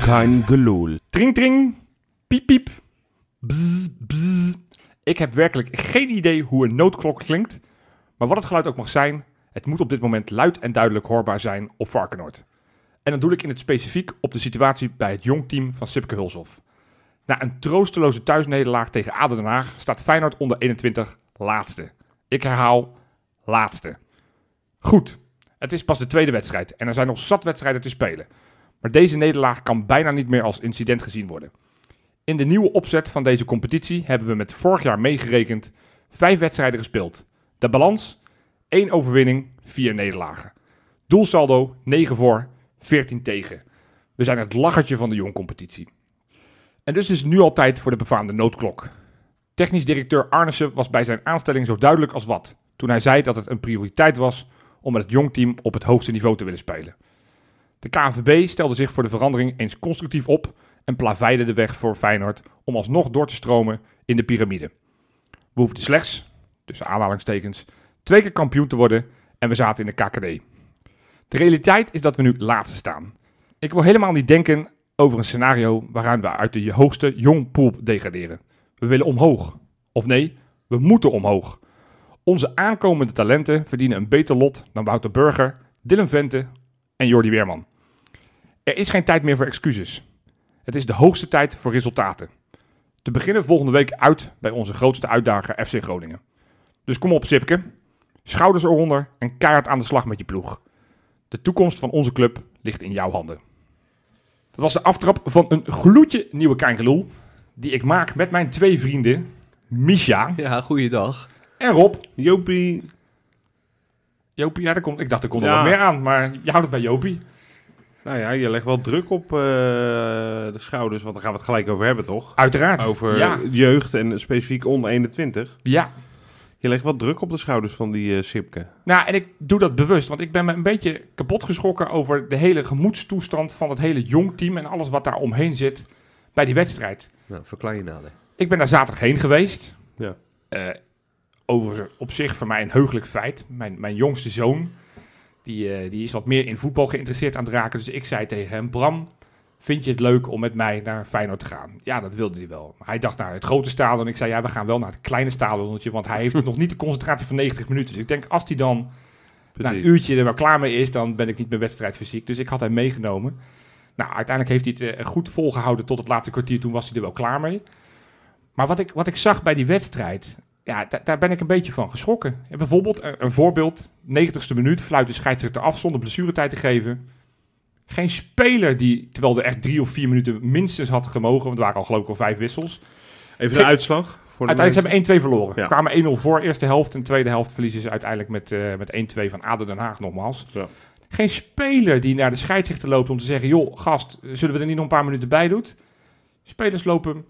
Kein geloel. Tring, tring. Piep, piep. Bzz, bzz. Ik heb werkelijk geen idee hoe een noodklok klinkt. Maar wat het geluid ook mag zijn, het moet op dit moment luid en duidelijk hoorbaar zijn op Varkenoord. En dan doe ik in het specifiek op de situatie bij het jongteam van Sipke Hulshof. Na een troosteloze thuisnederlaag tegen Aden Den Haag staat Feyenoord onder 21 laatste. Ik herhaal, laatste. Goed, het is pas de tweede wedstrijd en er zijn nog zat wedstrijden te spelen. Maar deze nederlaag kan bijna niet meer als incident gezien worden. In de nieuwe opzet van deze competitie hebben we met vorig jaar meegerekend vijf wedstrijden gespeeld. De balans: 1 overwinning, 4 nederlagen. Doelsaldo: 9 voor, 14 tegen. We zijn het lachertje van de jongcompetitie. En dus is het nu al tijd voor de befaamde noodklok. Technisch directeur Arnissen was bij zijn aanstelling zo duidelijk als wat toen hij zei dat het een prioriteit was om met het jongteam op het hoogste niveau te willen spelen. De KNVB stelde zich voor de verandering eens constructief op en plaveide de weg voor Feyenoord om alsnog door te stromen in de piramide. We hoefden slechts, tussen aanhalingstekens, twee keer kampioen te worden en we zaten in de KKD. De realiteit is dat we nu laatste staan. Ik wil helemaal niet denken over een scenario waarin we uit de hoogste jong pool degraderen. We willen omhoog. Of nee, we moeten omhoog. Onze aankomende talenten verdienen een beter lot dan Wouter Burger, Dylan Vente en Jordi Weerman. Er is geen tijd meer voor excuses. Het is de hoogste tijd voor resultaten. Te beginnen volgende week uit bij onze grootste uitdager FC Groningen. Dus kom op Sipke, schouders eronder en keihard aan de slag met je ploeg. De toekomst van onze club ligt in jouw handen. Dat was de aftrap van een gloedje nieuwe Kijngeloel, die ik maak met mijn twee vrienden, Misha Ja, goeiedag. en Rob. Jopie. Jopie, ja, daar komt, ik dacht er komt nog Ja. nog meer aan, maar je houdt het bij Jopie. Nou ja, je legt wel druk op eh, de schouders, want daar gaan we het gelijk over hebben, toch? Uiteraard. Over Ja, jeugd en specifiek onder 21. ja. Je legt wel druk op de schouders van die eh, Sipke. Nou, en ik doe dat bewust, want ik ben me een beetje kapot geschrokken over de hele gemoedstoestand van het hele jong team en alles wat daar omheen zit bij die wedstrijd. Nou, verklaar je nader. Ik ben daar zaterdag heen geweest. Ja. Eh, overigens op zich voor mij een heugelijk feit. Mijn, mijn jongste zoon, die, eh, die is wat meer in voetbal geïnteresseerd aan het raken. Dus ik zei tegen hem, Bram, vind je het leuk om met mij naar Feyenoord te gaan? Ja, dat wilde hij wel. Maar hij dacht naar het grote stadion. Ik zei, ja, we gaan wel naar het kleine stadionnetje, want hij heeft nog niet de concentratie van 90 minuten. Dus ik denk, als hij dan na Nou, een Precies. uurtje er wel klaar mee is, dan ben ik niet meer wedstrijdfysiek. Dus ik had hem meegenomen. Nou, uiteindelijk heeft hij het eh, goed volgehouden tot het laatste kwartier. Toen was hij er wel klaar mee. Maar wat ik, wat ik zag bij die wedstrijd, ja, da- daar ben ik een beetje van geschrokken. En bijvoorbeeld, eh, een voorbeeld, 90ste minuut, fluit de scheidsrechter af zonder blessuretijd te geven. Geen speler die, terwijl er echt drie of vier minuten minstens had gemogen, want er waren al geloof ik al vijf wissels. Even de Gek- uitslag. Voor de Uiteindelijk hebben we 1-2 verloren. Ja. Kwamen 1-0 voor, eerste helft. En tweede helft verliezen ze uiteindelijk met, eh, met 1-2 van Aden Den Haag nogmaals. Ja. Geen speler die naar de scheidsrechter loopt om te zeggen... joh, gast, zullen we er niet nog een paar minuten bij doen? Spelers lopen,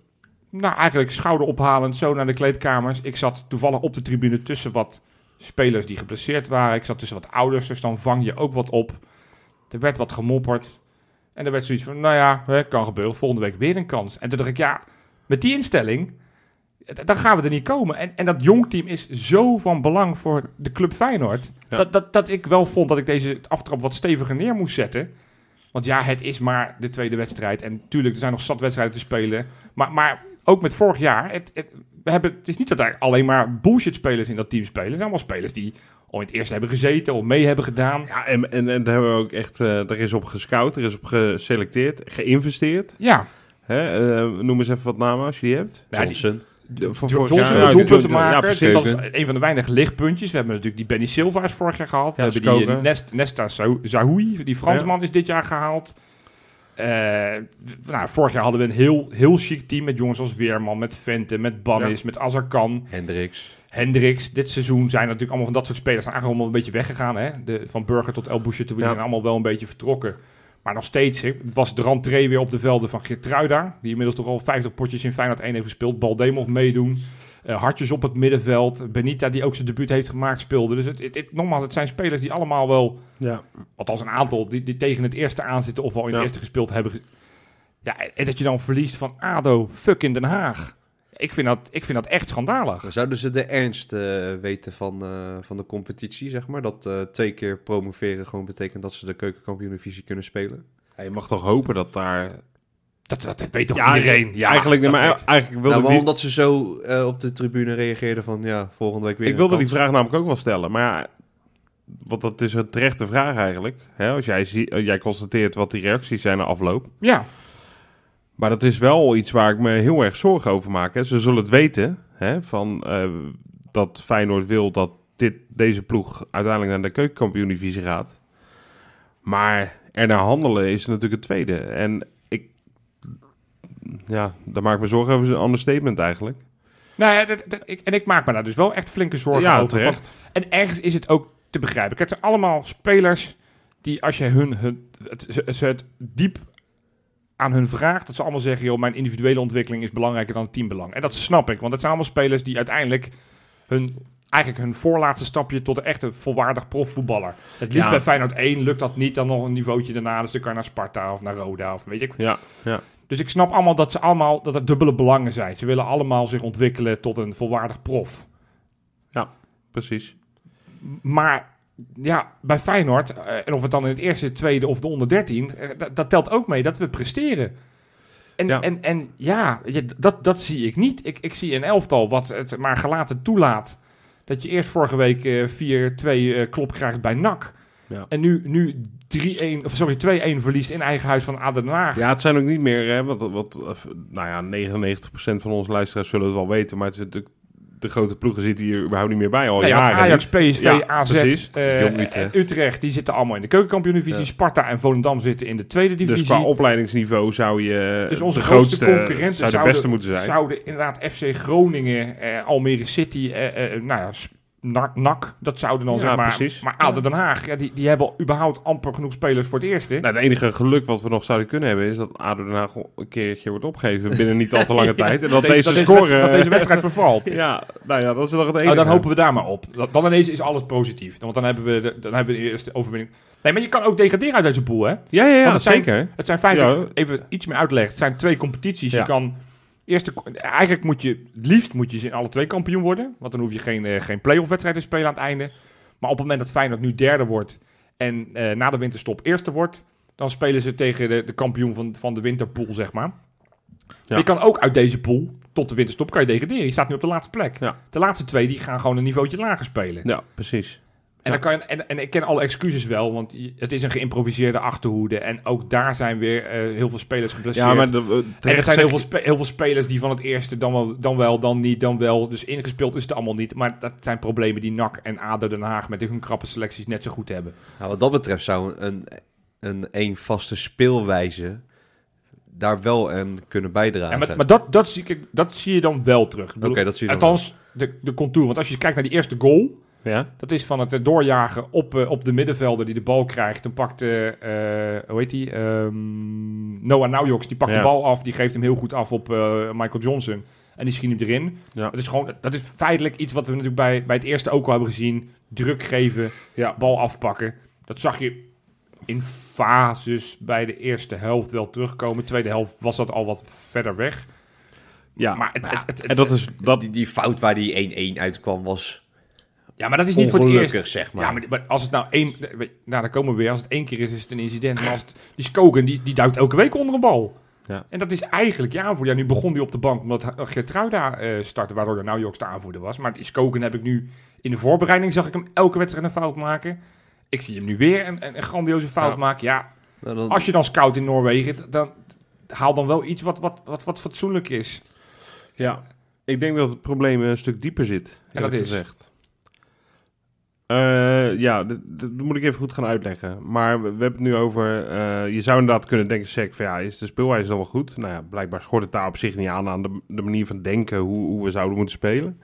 nou eigenlijk schouderophalend, zo naar de kleedkamers. Ik zat toevallig op de tribune tussen wat spelers die geblesseerd waren. Ik zat tussen wat ouders, dus dan vang je ook wat op. Er werd wat gemopperd. En er werd zoiets van, nou ja, hè, kan gebeuren. Volgende week weer een kans. En toen dacht ik, ja, met die instelling, d- dan gaan we er niet komen. En, en dat jongteam is zo van belang voor de club Feyenoord. Ja. Dat, dat, dat ik wel vond dat ik deze aftrap wat steviger neer moest zetten. Want ja, het is maar de tweede wedstrijd. En tuurlijk, er zijn nog zat wedstrijden te spelen. Maar, maar ook met vorig jaar. Het, het, we hebben, het is niet dat er alleen maar bullshit spelers in dat team spelen. Het zijn allemaal spelers die al in het eerste hebben gezeten of mee hebben gedaan. Ja, en, en, en daar hebben we ook echt, eh er is op gescout, er is op geselecteerd, geïnvesteerd. Ja, Hè? eh, noem eens even wat namen als je die hebt. Nou, die- Johnson. De- van vorig Johnson jaar- een ja, doelpunt te John- Ja, maken. precies. dat is een van de weinige lichtpuntjes. We hebben natuurlijk die Benny Silva's vorig jaar gehaald. Ja, we hebben die Skoke. eh, Nest, Nesta Zou- Zahoui, die Fransman, is dit jaar gehaald. Eh, w- nou, vorig jaar hadden we een heel, heel chic team met jongens als Weerman, met Vente, met Bannis, met Azarkan. Hendricks. Hendricks, dit seizoen zijn natuurlijk allemaal van dat soort spelers eigenlijk allemaal een beetje weggegaan. Hè? De, van Burger tot El Boucher toe Ja. zijn allemaal wel een beetje vertrokken. Maar nog steeds, hè, het was de rentree weer op de velden van Geertruida. Die inmiddels toch al 50 potjes in Feyenoord 1 heeft gespeeld. Balde mocht meedoen. Eh, hartjes op het middenveld. Benita, die ook zijn debuut heeft gemaakt, speelde. Dus het, het, het- nogmaals, het zijn spelers die allemaal wel... Ja. Althans een aantal die, die tegen het eerste aanzitten of al in Ja. het eerste gespeeld hebben. ge- Ja, en- en dat je dan verliest van ADO, fuck in Den Haag. Ik vind dat, ik vind dat echt schandalig. Maar Zouden ze de ernst eh, weten van, eh, van de competitie, zeg maar? Dat eh, twee keer promoveren gewoon betekent dat ze de keukenkampioen-divisie kunnen spelen? Ja, je mag toch hopen dat daar... Dat, dat, dat weet toch Ja, iedereen? Ja, eigenlijk, nee, dat maar weet- eigenlijk wilde Nou, ik maar die- omdat ze zo eh, op de tribune reageerden van, ja, volgende week weer Ik een wilde die kans. vraag namelijk ook wel stellen, maar ja, want dat is een terechte vraag eigenlijk. Hè, als jij, zie, eh, jij constateert wat die reacties zijn na afloop. ja. Maar dat is wel iets waar ik me heel erg zorgen over maak. Hè. Ze zullen het weten hè, van, eh, dat Feyenoord wil dat dit, deze ploeg uiteindelijk naar de keukenkampioen-divisie gaat. Maar ernaar handelen is natuurlijk het tweede. En ik, ja, daar maak ik me zorgen over. Dat is een understatement eigenlijk. Nou ja, dat, dat- ik, en ik maak me daar dus wel echt flinke zorgen Ja, over. terecht. Van- en ergens is het ook te begrijpen. Kijk, het zijn allemaal spelers die als je hun, hun het, ze, ze het diep aan hun vraagt, dat ze allemaal zeggen, joh, mijn individuele ontwikkeling is belangrijker dan het teambelang. En dat snap ik, want het zijn allemaal spelers die uiteindelijk hun, eigenlijk hun voorlaatste stapje tot een echte volwaardig profvoetballer. Het liefst Ja. bij Feyenoord 1 lukt dat niet, dan nog een niveautje daarna, dus dan kan je naar Sparta of naar Roda of weet ik Ja, ja. dus ik snap allemaal dat ze allemaal dat er dubbele belangen zijn. Ze willen allemaal zich ontwikkelen tot een volwaardig prof. precies. Maar ja, bij Feyenoord, eh, en of het dan in het eerste, het tweede of de onder 13, eh, dat, dat telt ook mee dat we presteren. En ja, Ja. en, en, ja je- dat, dat zie ik niet. Ik, ik zie een elftal wat het maar gelaten toelaat. Dat je eerst vorige week eh 4-2 eh, klop krijgt bij NAC. Ja. En nu, nu 3-1, of sorry, 2-1 verliest in eigen huis van Aden Haag. Ja, het zijn ook niet meer, hè, wat, wat, eh, nou ja, 99% van onze luisteraars zullen het wel weten, maar het is natuurlijk- de grote ploegen zitten hier überhaupt niet meer bij al Nou ja, Oh, jaren. Dus, Ajax, niet. PSV, Ja, AZ, precies. eh, Jong Utrecht. eh, Utrecht, die zitten allemaal in de keukenkampioen-divisie. Ja. Sparta en Volendam zitten in de tweede divisie. Dus qua opleidingsniveau zou je eh, Dus onze de grootste, grootste concurrenten zou de zouden- beste moeten zijn. Zouden inderdaad FC Groningen, eh, Almere City, eh, eh, nou ja, Sp- NAC, NAC, dat zouden dan Ja, zeg maar. precies. Maar ADO Den Haag, ja, die, die hebben überhaupt amper genoeg spelers voor het eerste. Nou, het enige geluk wat we nog zouden kunnen hebben is dat ADO Den Haag een keertje wordt opgegeven binnen niet al te lange tijd. En dat deze, wedst- scoren... dat deze wedstrijd vervalt. ja, nou ja, dat is toch het enige. Nou, dan hopen we daar maar op. Dan- Dan ineens is alles positief. Want dan hebben we de, dan hebben we de eerste overwinning. Nee, maar je kan ook degraderen uit deze pool, hè? Ja, ja, ja Want het zijn- zeker. Het zijn vijf, Ja. even iets meer uitleg. Het zijn twee competities. Je Ja. kan eerste, eigenlijk moet je, het liefst moet je ze in alle twee kampioen worden. Want dan hoef je geen, eh, geen play-off wedstrijd te spelen aan het einde. Maar op het moment dat Feyenoord nu derde wordt en eh, na de winterstop eerste wordt, dan spelen ze tegen de, de kampioen van, van de winterpool, zeg maar. Maar Je kan ook uit deze pool tot de winterstop kan je degraderen. Je staat nu op de laatste plek. Ja. De laatste twee die gaan gewoon een niveautje lager spelen. Ja, precies. En, dan kan je, en, en ik ken alle excuses wel, want je- het is een geïmproviseerde achterhoede. En ook daar zijn weer eh, heel veel spelers geblesseerd. Ja, maar de, eh, en er terecht zijn heel zeg- veel, spe- heel veel spelers die van het eerste dan wel, dan wel, dan niet, dan wel. Dus ingespeeld is het allemaal niet. Maar dat zijn problemen die NAC en ADO Den Haag met hun krappe selecties net zo goed hebben. Nou, wat dat betreft zou een, een, een vaste speelwijze daar wel aan kunnen bijdragen. En maar maar dat, dat, zie ik, dat zie je dan wel terug. Ik bedoel, Oké, dat zie je dan Althans, de, de contour. Want als je kijkt naar die eerste goal, Ja? Dat is van het eh, doorjagen op, eh, op de middenvelder die de bal krijgt. Dan pakt, eh, eh, hoe heet die? Ehm, Noah Naujoks, die pakt de Ja. bal af. Die geeft hem heel goed af op eh, Michael Johnson. En die schiet hem erin. Ja. Dat, is gewoon, dat is feitelijk iets wat we natuurlijk bij, bij het eerste ook al hebben gezien. Druk geven, Ja. bal afpakken. Dat zag je in fases bij de eerste helft wel terugkomen. Tweede helft was dat al wat verder weg. ja. Maar, het, het, het- en dat is... Dat, Die, die fout waar die 1-1 uitkwam was ja, maar dat is niet voor het eerst. ongelukkig, zeg maar. Ja, maar, maar als het nou één... Nou, daar komen we weer. Als het één keer is, is het een incident. Maar als het, die Skogen, die, die duikt elke week onder een bal. Ja. En dat is eigenlijk je aanvoerder. Ja, nu begon die op de bank omdat Gertruida eh startte, waardoor de nou de aanvoerder was. Maar die Skogen heb ik nu... In de voorbereiding zag ik hem elke wedstrijd een fout maken. Ik zie hem nu weer een, een, een grandioze fout Ja. maken. Ja, Nou, dan- als je dan scout in Noorwegen, d- dan haal dan wel iets wat, wat, wat, wat fatsoenlijk is. Ja, ik denk dat het probleem een stuk dieper zit. En dat eerlijk is? Gezegd. Eh, ja, dat, dat moet ik even goed gaan uitleggen. Maar we, we hebben het nu over... eh, je zou inderdaad kunnen denken, zeg, van, ja, is de speelwijze dan wel goed? Nou ja, blijkbaar schort het daar op zich niet aan... aan de, de manier van denken hoe, hoe we zouden moeten spelen.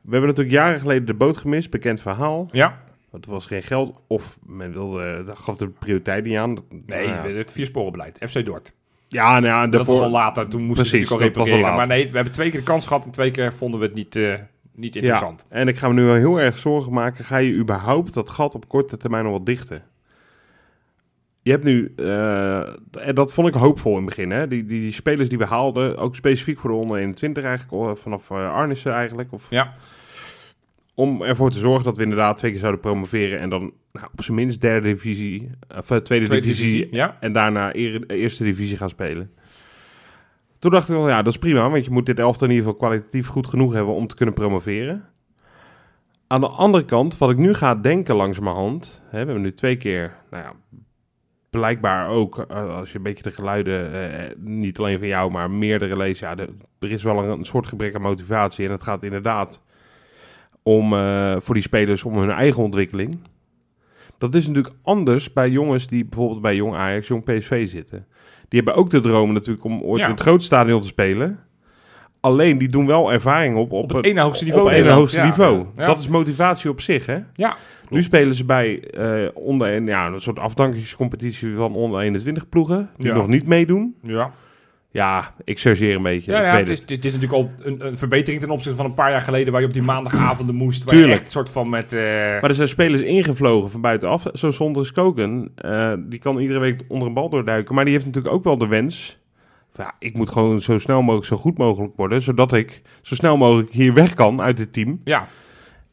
We hebben natuurlijk jaren geleden de boot gemist, bekend verhaal. Ja, Want er was geen geld. Of men wilde, daar gaf de prioriteit niet aan. Nee, Nou ja. het viersporenbeleid. FC Dort. ja, nou ja, Dat was daarvoor- al later. Toen moesten ze Precies, natuurlijk al dat was al repareren. later. maar nee, we hebben twee keer de kans gehad en twee keer vonden we het niet, eh, niet interessant. Ja, en ik ga me nu wel heel erg zorgen maken. Ga je überhaupt dat gat op korte termijn nog wat dichten? Je hebt nu, eh, en dat vond ik hoopvol in het begin, hè? Die, die, die spelers die we haalden, ook specifiek voor de onder 21 eigenlijk, of vanaf eh, Arnissen eigenlijk. Of, Ja. Om ervoor te zorgen dat we inderdaad twee keer zouden promoveren en dan nou, op zijn minst derde divisie, of eh, tweede, Tweede divisie, divisie, Ja. en daarna eer- eerste divisie gaan spelen. Toen dacht ik wel, ja, dat is prima, want je moet dit elftal in ieder geval kwalitatief goed genoeg hebben om te kunnen promoveren. Aan de andere kant, wat ik nu ga denken langzamerhand, hè, we hebben nu twee keer, nou ja, blijkbaar ook, eh, als je een beetje de geluiden, eh, niet alleen van jou, maar meerdere leest, ja, de- er is wel een, een soort gebrek aan motivatie en het gaat inderdaad om, eh, voor die spelers om hun eigen ontwikkeling. Dat is natuurlijk anders bij jongens die bijvoorbeeld bij jong Ajax, jong PSV zitten. Die hebben ook de droom natuurlijk om ooit Ja. in het grote stadion te spelen. Alleen die doen wel ervaring op op, Op het ene hoogste niveau. op het in ene Nederland. hoogste Ja. niveau. Ja. Dat is motivatie op zich, hè? Ja. Nu spelen ze bij eh, onder en ja, een soort afdankingscompetitie van onder 21 ploegen die Ja. nog niet meedoen. Ja. Ja, ik chargeer een beetje. Ja, ik ja weet het, is, het is natuurlijk al een, een verbetering ten opzichte van een paar jaar geleden waar je op die maandagavonden moest. Waar je Tuurlijk. echt soort van met... eh, Maar er zijn spelers ingevlogen van buitenaf. Zo zonder Skoken, eh, die kan iedere week onder een bal doorduiken. Maar die heeft natuurlijk ook wel de wens. van, Ja, ik moet gewoon zo snel mogelijk, zo goed mogelijk worden. Zodat ik zo snel mogelijk hier weg kan uit het team. ja,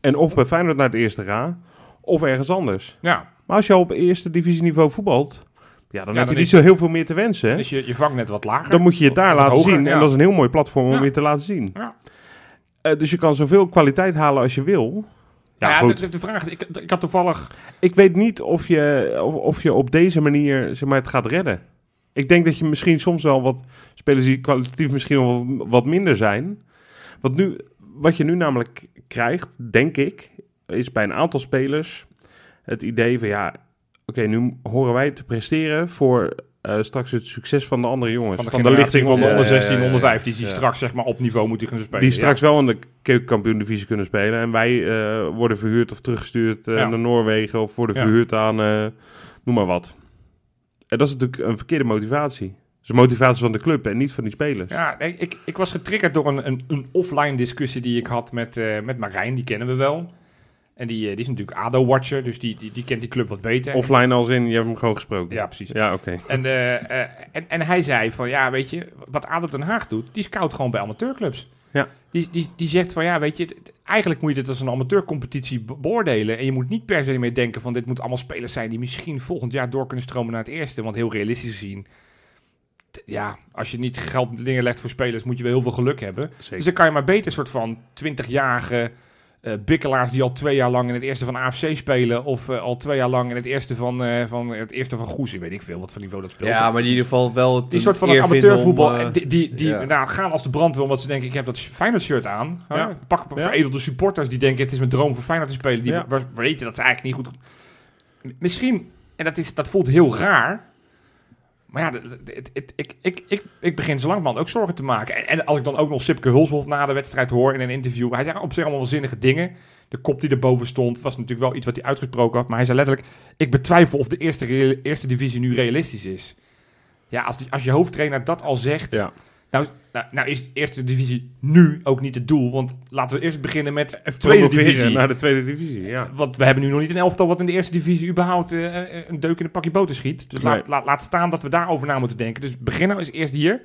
En of bij Feyenoord naar het eerste ga, of ergens anders. ja. Maar als je al op eerste divisieniveau voetbalt, ja, dan heb dan je niet is- zo heel veel meer te wensen. hè? Dus je, je vangt net wat lager. Dan moet je het daar Of wat laten hoger, zien. ja. En dat is een heel mooi platform om Ja. je te laten zien. Ja. Eh, dus je kan zoveel kwaliteit halen als je wil. Ja, Nou ja, goed. De, de vraag is, ik, ik had toevallig... Ik weet niet of je, of, of je op deze manier zeg maar, het gaat redden. Ik denk dat je misschien soms wel wat spelers die kwalitatief misschien wel wat- wat minder zijn. Wat, nu, wat je nu namelijk krijgt, denk ik, is bij een aantal spelers het idee van ja, oké, nu horen wij te presteren voor eh, straks het succes van de andere jongens. Van de, lichting van de Ja, onder ja, ja, 16, ja, onder ja. 15, die Ja. straks zeg maar op niveau moeten gaan spelen. eh, Die Ja. straks wel in de keukenkampioen-divisie kunnen spelen. En wij eh, worden verhuurd of teruggestuurd eh, Ja. naar Noorwegen. Of worden Ja. verhuurd aan eh, noem maar wat. En dat is natuurlijk een verkeerde motivatie. Dat is een motivatie van de club en niet van die spelers. Ja, nee, ik, ik was getriggerd door een, een, een offline discussie die ik had met, eh, met Marijn, die kennen we wel. En die, eh, die is natuurlijk ADO-watcher, dus die, die, die kent die club wat beter. Offline als in, je hebt hem gewoon gesproken. ja, precies. Ja, oké. En, eh, eh, en, en hij zei van, ja, weet je, wat ADO Den Haag doet, die scout gewoon bij amateurclubs. Ja. Die, die, die zegt van, ja, weet je, d- eigenlijk moet je dit als een amateurcompetitie be- beoordelen. En je moet niet per se meer denken van, dit moet allemaal spelers zijn die misschien volgend jaar door kunnen stromen naar het eerste. Want heel realistisch gezien, t- ja, als je niet geld neerlegt voor spelers, moet je wel heel veel geluk hebben. Dus Zeker. dan kan je maar beter een soort van 20-jarige eh, bikkelaars die al twee jaar lang in het eerste van AFC spelen. Of eh, al twee jaar lang in het eerste van, eh, van, het eerste van Goes. Ik weet ik veel wat voor niveau dat speelt. Ja, maar in ieder geval wel het die een soort van eer vinden amateurvoetbal. om, eh, eh, die die, die ja. nou, gaan als de brandweer omdat ze denken ik heb dat Feyenoord shirt aan. hè? Ja. Pak Ja. veredelde supporters die denken het is mijn droom voor Feyenoord te spelen. Die Ja. waar- weten dat ze eigenlijk niet goed... Misschien, en dat, is, dat voelt heel raar... Maar ja, het- het- het- ik, ik, ik, ik begin zo langzamerhand ook zorgen te maken. En, en als ik dan ook nog Sipke Hulshoff na de wedstrijd hoor in een interview. Hij zei op zich allemaal wel zinnige dingen. De kop die erboven stond was natuurlijk wel iets wat hij uitgesproken had. Maar hij zei letterlijk, ik betwijfel of de eerste, real- eerste divisie nu realistisch is. Ja, als, die, als je hoofdtrainer dat al zegt. Ja. Nou, nou, nou is eerste divisie nu ook niet het doel. Want laten we eerst beginnen met tweede Promoveren divisie. Naar de tweede divisie, ja. Want we hebben nu nog niet een elftal wat in de eerste divisie überhaupt eh, eh, een deuk in een pakje boter schiet. Dus laat, Nee. laat, laat staan dat we daarover na moeten denken. Dus beginnen is eerst hier.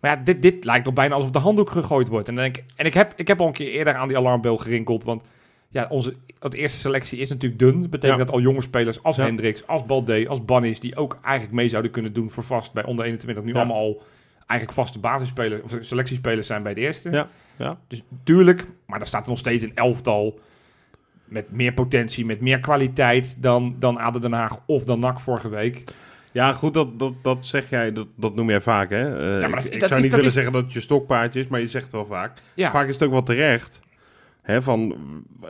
Maar ja, dit, dit lijkt al bijna alsof de handdoek gegooid wordt. En, dan denk, ik- en ik, heb, ik heb al een keer eerder aan die alarmbel gerinkeld. Want ja, onze het eerste selectie is natuurlijk dun. Dat betekent Ja. dat al jonge spelers als Ja. Hendricks, als Balde, als Bannis... die ook eigenlijk mee zouden kunnen doen voor vast bij onder 21... nu Ja. allemaal al eigenlijk vaste basisspelers of selectiespelers zijn bij de eerste. Ja, ja. Dus tuurlijk, maar daar staat nog steeds een elftal met meer potentie, met meer kwaliteit dan, dan ADO Den Haag of dan NAC vorige week. Ja, goed, dat, dat, dat zeg jij, dat, dat noem jij vaak, hè? Eh, Ja, maar ik dat- ik dat zou niet is- dat willen is- zeggen dat het je stokpaardje is, maar je zegt het wel vaak. Ja. Vaak is het ook wel terecht. Hè, van,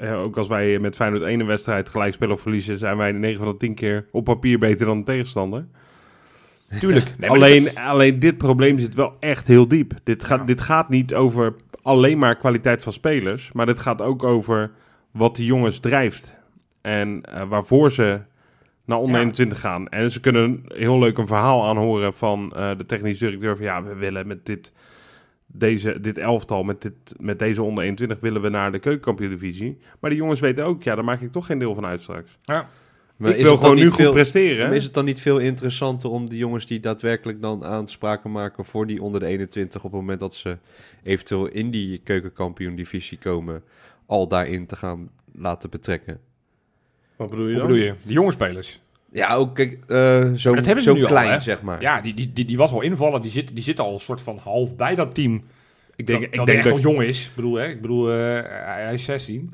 eh, ook als wij met Feyenoord één wedstrijd gelijk spelen of verliezen, zijn wij 9 van de 10 keer op papier beter dan de tegenstander. Tuurlijk. Nee, maar alleen, dit- alleen dit probleem zit wel echt heel diep. Dit gaat, Ja. dit gaat niet over alleen maar kwaliteit van spelers, maar dit gaat ook over wat die jongens drijft. En eh, waarvoor ze naar onder Ja. 21 gaan. En ze kunnen heel leuk een verhaal aanhoren van eh, de technisch directeur. Van ja, we willen met dit, deze, dit elftal, met, dit, met deze onder 21 willen we naar de keukenkampioen-divisie. Maar die jongens weten ook, ja, daar maak ik toch geen deel van uit straks. Maar ik is wil het dan gewoon nu niet goed veel- presteren. Maar hè? is het dan niet veel interessanter om die jongens die daadwerkelijk dan aanspraken maken voor die onder de 21 op het moment dat ze eventueel in die keukenkampioen divisie komen, al daarin te gaan laten betrekken? Wat bedoel je Hoe dan? bedoel je? De jonge spelers. Ja, ook kijk, eh, zo, Dat hebben ze zo nu al, klein hè? zeg maar. Ja, die, die, die, die was al invallen. Die zit, die zit al een soort van half bij dat team. Ik dat, denk, ik dat denk hij echt dat, nog jong is. Ik bedoel, hè? Ik bedoel eh, hij hij is 16.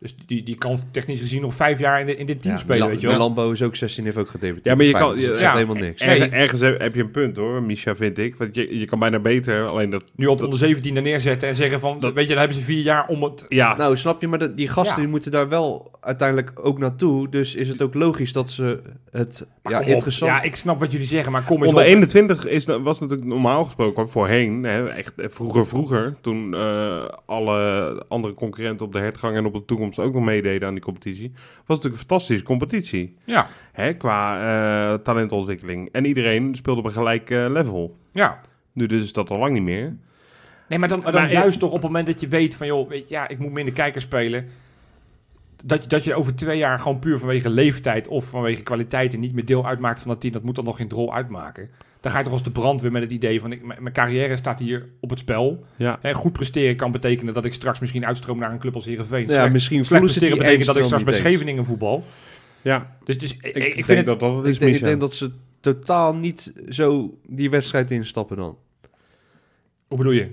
Dus die, die kan technisch gezien nog vijf jaar in, de, in dit team Ja, spelen, nou, Milan- weet je wel. Milambo is ook 16, heeft ook gedebuteerd. Ja, maar je bij kan- Feyenoord, dus ja, dat zegt ja, helemaal niks. en- Ergens, ergens heb, heb je een punt hoor, Misha, vind ik. Want je, je kan bijna beter, alleen dat... Nu op onder 17 er neerzetten en zeggen van... Dat- weet je, dan hebben ze vier jaar om het... Ja, Nou, snap je, maar dat- die gasten Ja. die moeten daar wel uiteindelijk ook naartoe. Dus is het ook logisch dat ze het Maar ja, kom op. interessant... Ja, ik snap wat jullie zeggen, maar kom eens Onder op. 21 is, was natuurlijk normaal gesproken voorheen, hè, echt eh, vroeger vroeger, toen eh, alle andere concurrenten op de hertgang en op de toekomst ook nog meededen aan die competitie, was het natuurlijk een fantastische competitie Ja, hè, qua eh, talentontwikkeling. En iedereen speelde op een gelijk eh, level. ja. Nu dus is dat al lang niet meer. Nee, maar dan, maar dan Maar, eh, juist toch op het moment dat je weet van... joh, weet je, ja, ik moet minder kijkers spelen... Dat, je- dat je over twee jaar gewoon puur vanwege leeftijd of vanwege kwaliteiten niet meer deel uitmaakt van dat team, dat moet dan nog geen drol uitmaken. Dan ga je toch als de brandweer met het idee van ik, mijn mijn carrière staat hier op het spel. Ja. Hè, goed presteren kan betekenen dat ik straks misschien uitstroom naar een club als Heerenveen. Ja, Slecht- misschien slecht voelen ze die presteren betekent dat ik straks bij eindstroom niet eens. Scheveningen voetbal. Ja, Dus, dus ik, ik, ik, vind denk het... dat dat het is, Ik denk, ik Misha. denk dat ze totaal niet zo die wedstrijd instappen dan. Hoe bedoel je?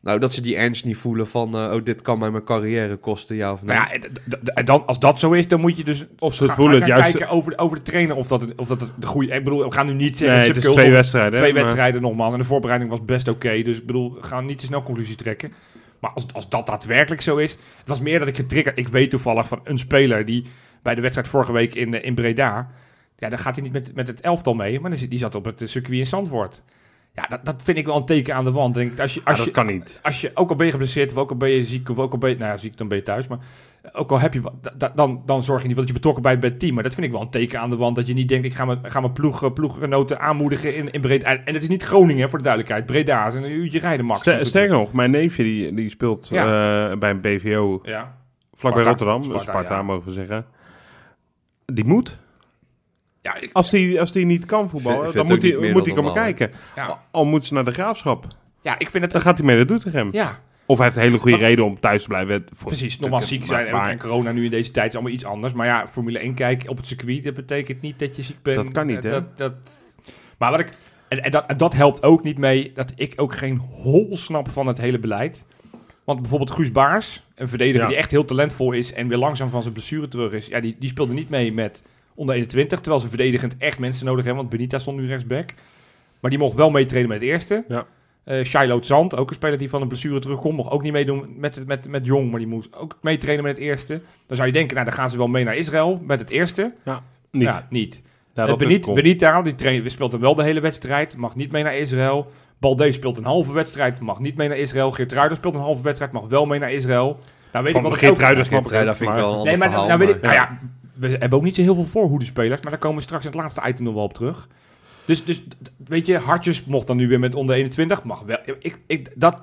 Nou, dat ze die ernst niet voelen van... eh, oh, dit kan mij mijn carrière kosten, ja of nee. Nou ja, en d- d- en dan, als dat zo is, dan moet je dus Of ze het Ga- voelen ga het juist... kijken over, over de trainer of dat, of dat de goede... Ik bedoel, we gaan nu niet Nee, zeggen... het is subculs twee of- wedstrijden. hè, twee maar- wedstrijden nogmaals. En de voorbereiding was best oké. dus ik bedoel, we gaan niet te snel conclusie trekken. Maar als, als dat daadwerkelijk zo is... Het was meer dat ik getriggerd... Ik weet toevallig van een speler die bij de wedstrijd vorige week in, eh, in Breda... Ja, dan gaat hij niet met, met het elftal mee. Maar dan zit- die zat op het eh, circuit in Zandvoort. Ja, dat, dat vind ik wel een teken aan de wand. Ik Denk, als je, Ah, als dat je, kan niet. als je, ook al ben je geblesseerd, of ook al ben je ziek, of ook al ben je, nou ja, ziek dan ben je thuis, maar ook al heb je, wat- da- da- dan, dan zorg je niet dat je betrokken bent bij het team. Maar dat vind ik wel een teken aan de wand, dat je niet denkt, ik ga mijn, ga mijn ploeg, eh, ploeggenoten aanmoedigen in, in Breda. En het is niet Groningen, hè, voor de duidelijkheid. Breda is een uurtje rijden, max. Dus Ster- Dat is- Sterker nog, mijn neefje die, die speelt eh, bij een BVO Ja. Vlak bij Sparta. Rotterdam, Sparta, Sparta, ja. mogen we zeggen. Die moet. Ja, ik- Als die, als die niet kan voetballen, Vind- dan vindt moet ook hij niet meer moet die dan komen normaal, kijken. ja, Al moet ze naar de graafschap. ja, ik vind het... Dan gaat hij mee naar Doetinchem. Ja, Of hij heeft een hele goede Wat- reden om thuis te blijven. Voor- precies. Normaal ziek zijn en, Maar- en corona nu in deze tijd is allemaal iets anders. Maar ja, Formule 1 kijken op het circuit, dat betekent niet dat je ziek bent. Dat kan niet, hè? Eh, Dat, dat, maar wat ik... En, en dat, en dat helpt ook niet mee dat ik ook geen hol snap van het hele beleid. Want bijvoorbeeld Guus Baars, een verdediger Ja. die echt heel talentvol is en weer langzaam van zijn blessure terug is. Ja, die, die speelde niet mee met onder 21, terwijl ze verdedigend echt mensen nodig hebben. Want Benita stond nu rechtsback. Maar die mocht wel meetrainen met het eerste. Ja. Eh, Shiloh Zand, ook een speler die van een blessure terugkomt, mocht ook niet meedoen met, met, met Jong, maar die moest ook meetrainen met het eerste. Dan zou je denken, nou dan gaan ze wel mee naar Israël met het eerste. Niet. Ja, niet. Ja, Eh, dat Benit- komt. Benita, die train, speelt dan wel de hele wedstrijd, mag niet mee naar Israël. Balde speelt een halve wedstrijd, mag niet mee naar Israël. Geert speelt een halve wedstrijd, mag wel mee naar Israël. Nou weet Van ik wat ik ook- Geertruida snap ik Geertrui, het, dat vind ik maar- wel een Nee, ander maar verhaal. nou weet ik, nou maar- ja, we hebben ook niet zo heel veel voorhoede spelers, maar daar komen we straks in het laatste item nog wel op terug. Dus, dus d- weet je, Hartjes mocht dan nu weer met onder 21, mag wel. Ik, ik, dat,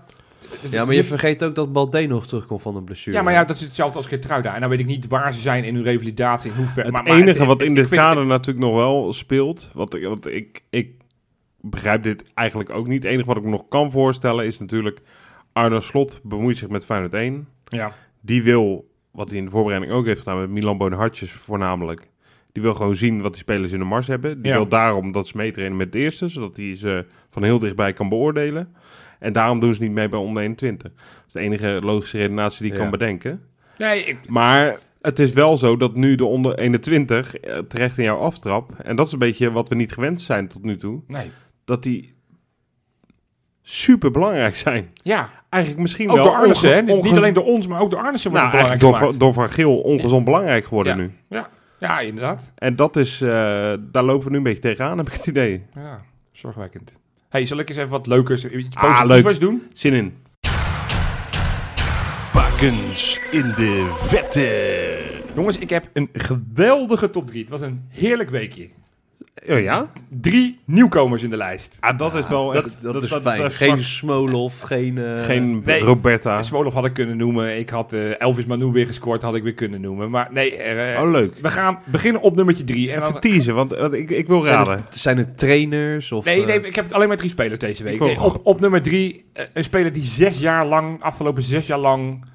Ja, maar je vergeet ook dat Balde nog terugkomt van een blessure. ja, maar ja, dat is hetzelfde als Gertruida. En dan weet ik niet waar ze zijn in hun revalidatie, in hoeverre. Het maar, maar enige het- wat het- in ik dit vind- kader natuurlijk nog wel speelt, wat ik, wat ik, ik begrijp dit eigenlijk ook niet. Het enige wat ik me nog kan voorstellen is natuurlijk Arno Slot bemoeit zich met Feyenoord 1. Ja, die wil, wat hij in de voorbereiding ook heeft gedaan met Milan Boonhartjes voornamelijk. Die wil gewoon zien wat die spelers in de mars hebben. Die Ja. wil daarom dat ze meetrainen met de eerste, zodat hij ze van heel dichtbij kan beoordelen. En daarom doen ze niet mee bij onder 21. Dat is de enige logische redenatie die ik Ja. kan bedenken. nee, ik, Maar het is wel zo dat nu de onder 21 eh, terecht in jouw aftrap. En dat is een beetje wat we niet gewend zijn tot nu toe. nee. Dat die super belangrijk zijn. Ja, Eigenlijk misschien ook wel door Arnissen, hè? onge- onge- Niet alleen door ons, maar ook door Arnissen wordt nou, het eigenlijk belangrijk door, gemaakt. Van- door Van Geel ongezond belangrijk geworden nu. Ja, inderdaad. En dat is, eh, daar lopen we nu een beetje tegenaan, heb ik het idee. Ja, zorgwekkend. hey, zal ik eens even wat leukers, iets Ah, positiefs doen? Zin in. Pak varkens in de vette. Jongens, ik heb een geweldige top 3. Het was een heerlijk weekje. Oh ja? Drie nieuwkomers in de lijst. Ah, dat is wel Dat, echt... dat is fijn. geen Smolov, geen... eh, geen nee. Roberta. Smolov had ik kunnen noemen. Ik had eh, Elvis Manu weer gescoord, had ik weer kunnen noemen. Maar nee, er, eh, Oh, leuk. we gaan beginnen op nummertje 3. En Even dan, teasen, want want ik, ik wil Zijn raden. het, zijn het trainers of... nee, nee, eh, ik heb alleen maar drie spelers deze week. Ik ook. Nee, op, op nummer 3, een speler die zes jaar lang, afgelopen zes jaar lang,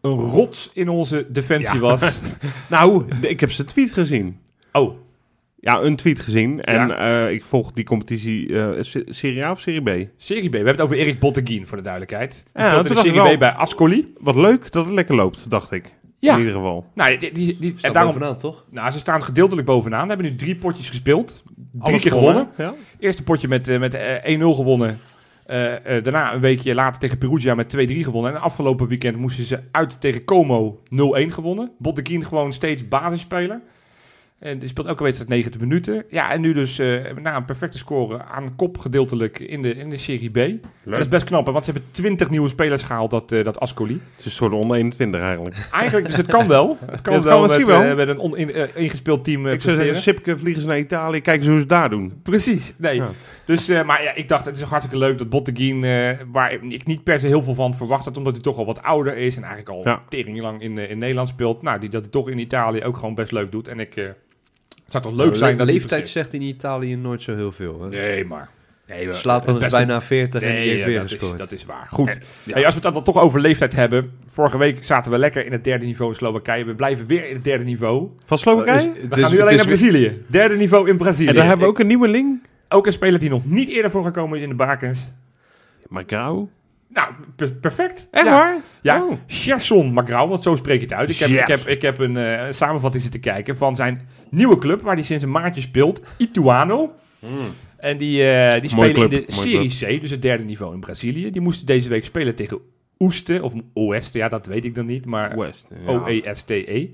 een rots in onze defensie was. Nou, d- ik heb zijn tweet gezien. Oh, Ja, een tweet gezien. En Ja. eh, ik volg die competitie eh, se- Serie A of Serie B. Serie B. We hebben het over Erik Botteguin, voor de duidelijkheid. Die Ja, speelt in toen de dacht ik Serie wel- B bij Ascoli. Wat leuk dat het lekker loopt, dacht ik. Ja. In ieder geval. Nou, die, die, die, staat en daarom, bovenaan, toch? nou, ze staan gedeeltelijk bovenaan. Hebben nu drie potjes gespeeld. Drie Alles keer gewonnen. Ja. Eerste potje met, eh, met eh, 1-0 gewonnen. Eh, eh, daarna een weekje later tegen Perugia met 2-3 gewonnen. En afgelopen weekend moesten ze uit tegen Como 0-1 gewonnen. Botteguin gewoon steeds basisspeler. En die speelt elke wedstrijd 90 minuten. Ja, en nu dus eh, na een perfecte score aan kop gedeeltelijk in de, in de Serie B. Dat is best knap, hè, want ze hebben 20 nieuwe spelers gehaald, dat, eh, dat Ascoli. Het is een soort onder 21 eigenlijk. Eigenlijk, dus het kan wel. Het kan Ja, het wel kan met, misschien wel. eh, met een on- in- eh, ingespeeld team eh, ik zou zeggen, presteren. Sipke, vliegen ze naar Italië. Kijk eens hoe ze het daar doen. Precies, nee. Ja. Dus, eh, maar ja, ik dacht, het is ook hartstikke leuk dat Botteguin, eh, waar ik niet per se heel veel van verwacht had, omdat hij toch al wat ouder is en eigenlijk al Ja. tering lang in, eh, in Nederland speelt. Nou, die, dat hij toch in Italië ook gewoon best leuk doet. En ik, eh, het zou toch leuk Nou, zijn le- dat hij leeftijd presteert. zegt in Italië nooit zo heel veel. Hè? Nee, maar... Nee, maar- Slaat dan het eens beste- bijna 40 en die Nee, heeft ja, weer dat, is, gescoord. dat is waar. Goed. Hey, als we het dan toch over leeftijd hebben. Vorige week zaten we lekker in het derde niveau in Slowakije. We blijven weer in het derde niveau. Van Slowakije? Eh, is- en het We is- gaan nu het alleen naar is weer- Brazilië. Derde niveau in Brazilië. daar hebben we ook een nieuweling. Ook een speler die nog niet eerder voorgekomen is in de Bakens. Macau. Nou, per- perfect. Echt ja. waar? Ja, Oh. Gerson Magrau, want zo spreek je het uit. Ik heb, Yes. ik heb, ik heb een eh, een samenvatting zitten kijken van zijn nieuwe club, waar hij sinds een maandje speelt, Ituano. En die, eh, die Hmm. Mooie spelen in de club, mooie Serie C, dus het derde niveau in Brazilië. Die moesten deze week spelen tegen Oeste, of Oeste, ja, dat weet ik dan niet, maar E West. ja. Oh, O-E-S-T-E.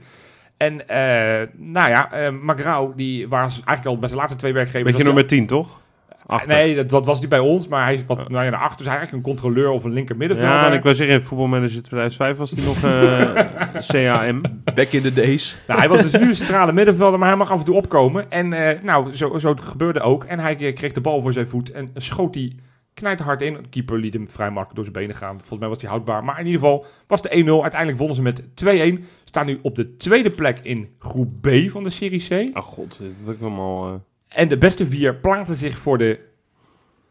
En, eh, nou ja, eh Magrau, die was eigenlijk al bij zijn laatste twee werkgevers... Beetje was hij- nummer 10, toch? Achter. Nee, dat, dat was hij bij ons, maar hij is wat nou ja, naar achter. Dus hij is eigenlijk een controleur of een linker middenvelder. Oh. Ja, en ik wil zeggen, in voetbalmanager 2005 was hij nog eh, CAM. Back in the days. Nou, hij was dus nu een centrale middenvelder, maar hij mag af en toe opkomen. En eh, nou, zo, zo gebeurde ook. En hij eh, kreeg de bal voor zijn voet en schoot die knijthard in. De keeper liet hem vrij makkelijk door zijn benen gaan. Volgens mij was hij houdbaar. Maar in ieder geval was de 1-0. Uiteindelijk wonnen ze met 2-1. Staan nu op de tweede plek in groep B van de Serie C. Oh god, dat ik allemaal... eh En de beste vier plaatsen zich voor de,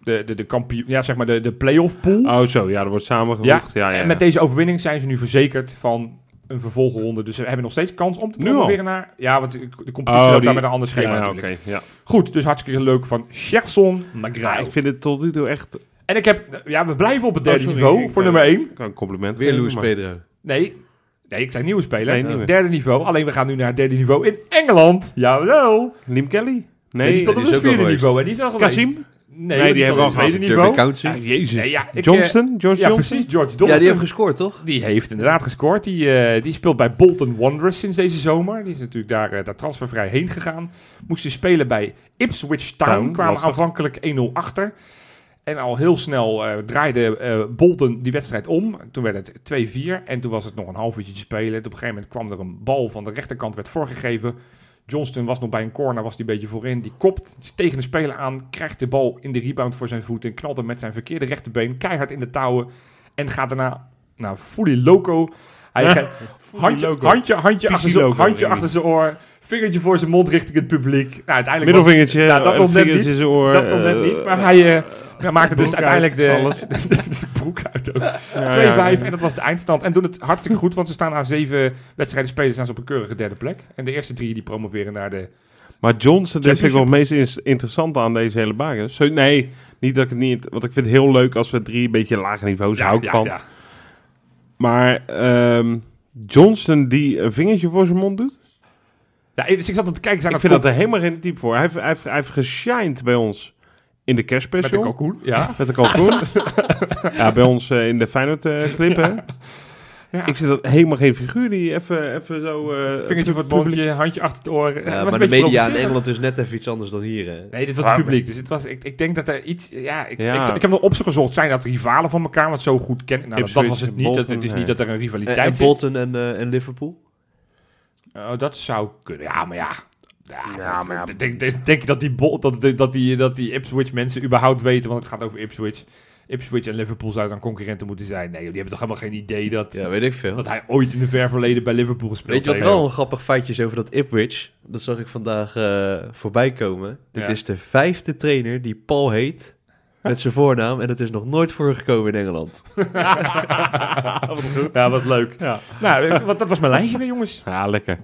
de, de, de, kampioen, ja, zeg maar de, de play-off pool. Oh zo, ja, dat wordt ja. samengevoegd. Ah, Ja, ja, ja. En met deze overwinning zijn ze nu verzekerd van een vervolgronde. Dus ze hebben nog steeds kans om te Nu al? promoveren naar... Ja, want de de Oh, competitie loopt die- daar met een ander schema Ja, natuurlijk. oké, ja. Goed, dus hartstikke leuk van Sherson Ja, Magrau. ik vind het tot nu toe echt... En ik heb... Ja, we blijven op het derde Oh, sorry, niveau ik, voor eh, nummer 1. Ik kan een compliment Weer geven, Luis maar- Pedro. Nee, nee, ik zei nieuwe speler. Nee, nieuwe. Derde niveau. Alleen we gaan nu naar het derde niveau in Engeland. Jawel. Liam Kelly? Nee, Nee, die speelt op is het ook wel vierde geweest. niveau. En die is al geweest. Kazim? Nee, nee, die, hebben hebben we al al tweede gehad. niveau. County. Ah, jezus. Nee, ja, ik, eh, Johnston? George Ja, Johnston? precies. George Dawson. Ja, die heeft gescoord, toch? Die heeft inderdaad gescoord. Die, eh, die speelt bij Bolton Wanderers sinds deze zomer. Die is natuurlijk daar, eh, daar transfervrij heen gegaan. Moest ze spelen bij Ipswich Town. Town, kwamen lastig. aanvankelijk 1-0 achter. En al heel snel eh, draaide eh, Bolton die wedstrijd om. Toen werd het 2-4. En toen was het nog een half uurtje te spelen. Op een gegeven moment kwam er een bal van de rechterkant, werd voorgegeven. Johnston was nog bij een corner, was die een beetje voorin. Die kopt is tegen de speler aan, krijgt de bal in de rebound voor zijn voet. En knalt hem met zijn verkeerde rechterbeen keihard in de touwen. En gaat daarna, nou, fully loco. Hij gaat handje, loco. handje, handje, achter zijn, loco, handje Remy. achter zijn oor. Vingertje voor zijn mond richting het publiek. Nou, uiteindelijk was- Middelvingertje, Ja, dat eh, nog net vingers niet. in zijn oor. dat nog net eh, niet. Maar hij eh, hij maakte dus broek uiteindelijk de, uit, de, de broek uit ook. 2-5 ja, ja, ja. en dat was de eindstand. En doen het hartstikke goed, want ze staan aan zeven wedstrijden spelen. Staan ze op een keurige derde plek. En de eerste drie die promoveren naar de... Maar Johnson, dat vind ik wel het meest ins- interessante aan deze hele baan. Zo, nee, niet dat ik het niet... Want ik vind het heel leuk als we drie een beetje lage niveaus hou ik van. ja. Maar ehm, Johnson die een vingertje voor zijn mond doet? Ja, dus ik zat aan te kijken. Zijn ik vind dat er helemaal geen type voor. Hij heeft, hij heeft, hij heeft geshined bij ons in de met de kerstspecial. kalkoen. Ja. Met de kalkoen. ja, bij ons eh, in de Feyenoord eh clip, hè? Ja. Ik vind dat helemaal geen figuur die even, even zo... eh, Vingertje voor het publiek- bondje, handje achter het oor. Het was Ja, een maar de beetje media in provocerend. Engeland is net even iets anders dan hier, hè? Nee, dit was Ah, het publiek. Dus het was, ik, ik denk dat er iets... Ja, ik, Ja. Ik, ik heb nog op ze gezocht. Zijn dat rivalen van elkaar? Want zo goed kennen... Nou, dat, dat Ipswich, was het niet. Bolton, dat, het is nee. niet dat er een En, rivaliteit en is. Bolton en, eh, en Liverpool? Oh, dat zou kunnen. Ja, maar ja. Ja, Ja, dat- maar ja. Denk, denk- denk je dat die, bol, dat, dat- dat die, dat die Ipswich mensen überhaupt weten? Want het gaat over Ipswich. Ipswich en Liverpool zouden dan concurrenten moeten zijn. Nee, joh, die hebben toch helemaal geen idee dat, Ja, weet ik veel. dat hij ooit in de ver verleden bij Liverpool gespeeld Weet je wat heeft. wel een grappig feitje is over dat Ipwich? Dat zag ik vandaag eh, voorbij komen. Dit Ja. is de vijfde trainer die Paul heet met zijn voornaam en het is nog nooit voorgekomen in Engeland. ja, wat leuk. Ja. Nou, ik- wat, dat was mijn lijntje weer, jongens. Ja, lekker.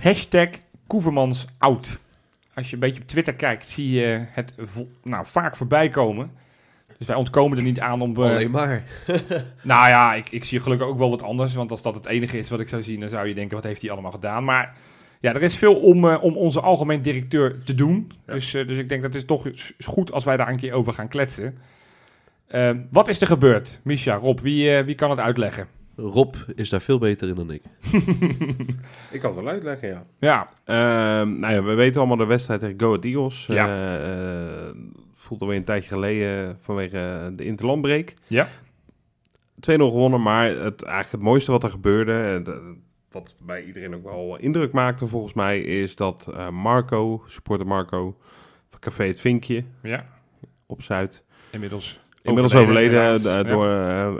Hashtag Koevermans out. Als je een beetje op Twitter kijkt, zie je het vo- nou, vaak voorbij komen. Dus wij ontkomen er niet aan om... eh, Alleen maar. Nou ja, ik, ik zie gelukkig ook wel wat anders. Want als dat het enige is wat ik zou zien, dan zou je denken: wat heeft hij allemaal gedaan? Maar ja, er is veel om, eh, om onze algemeen directeur te doen. Dus, eh, dus ik denk dat het is toch is is goed als wij daar een keer over gaan kletsen. Eh, wat is er gebeurd, Misha, Rob? Wie, eh, wie kan het uitleggen? Rob is daar veel beter in dan ik. Ik kan het wel uitleggen, ja. Ja, Ehm, nou ja, we weten allemaal de wedstrijd tegen Go Ahead Eagles. Ja. Eh, eh, voelt alweer een tijdje geleden vanwege de interlandbreak. Ja. 2-0 gewonnen, maar het, eigenlijk het mooiste wat er gebeurde... eh, de- wat bij iedereen ook wel indruk maakte volgens mij... is dat eh, Marco, supporter Marco... van Café Het Vinkje ja. op Zuid... inmiddels. inmiddels overleden, inderdaad. eh, Ja. door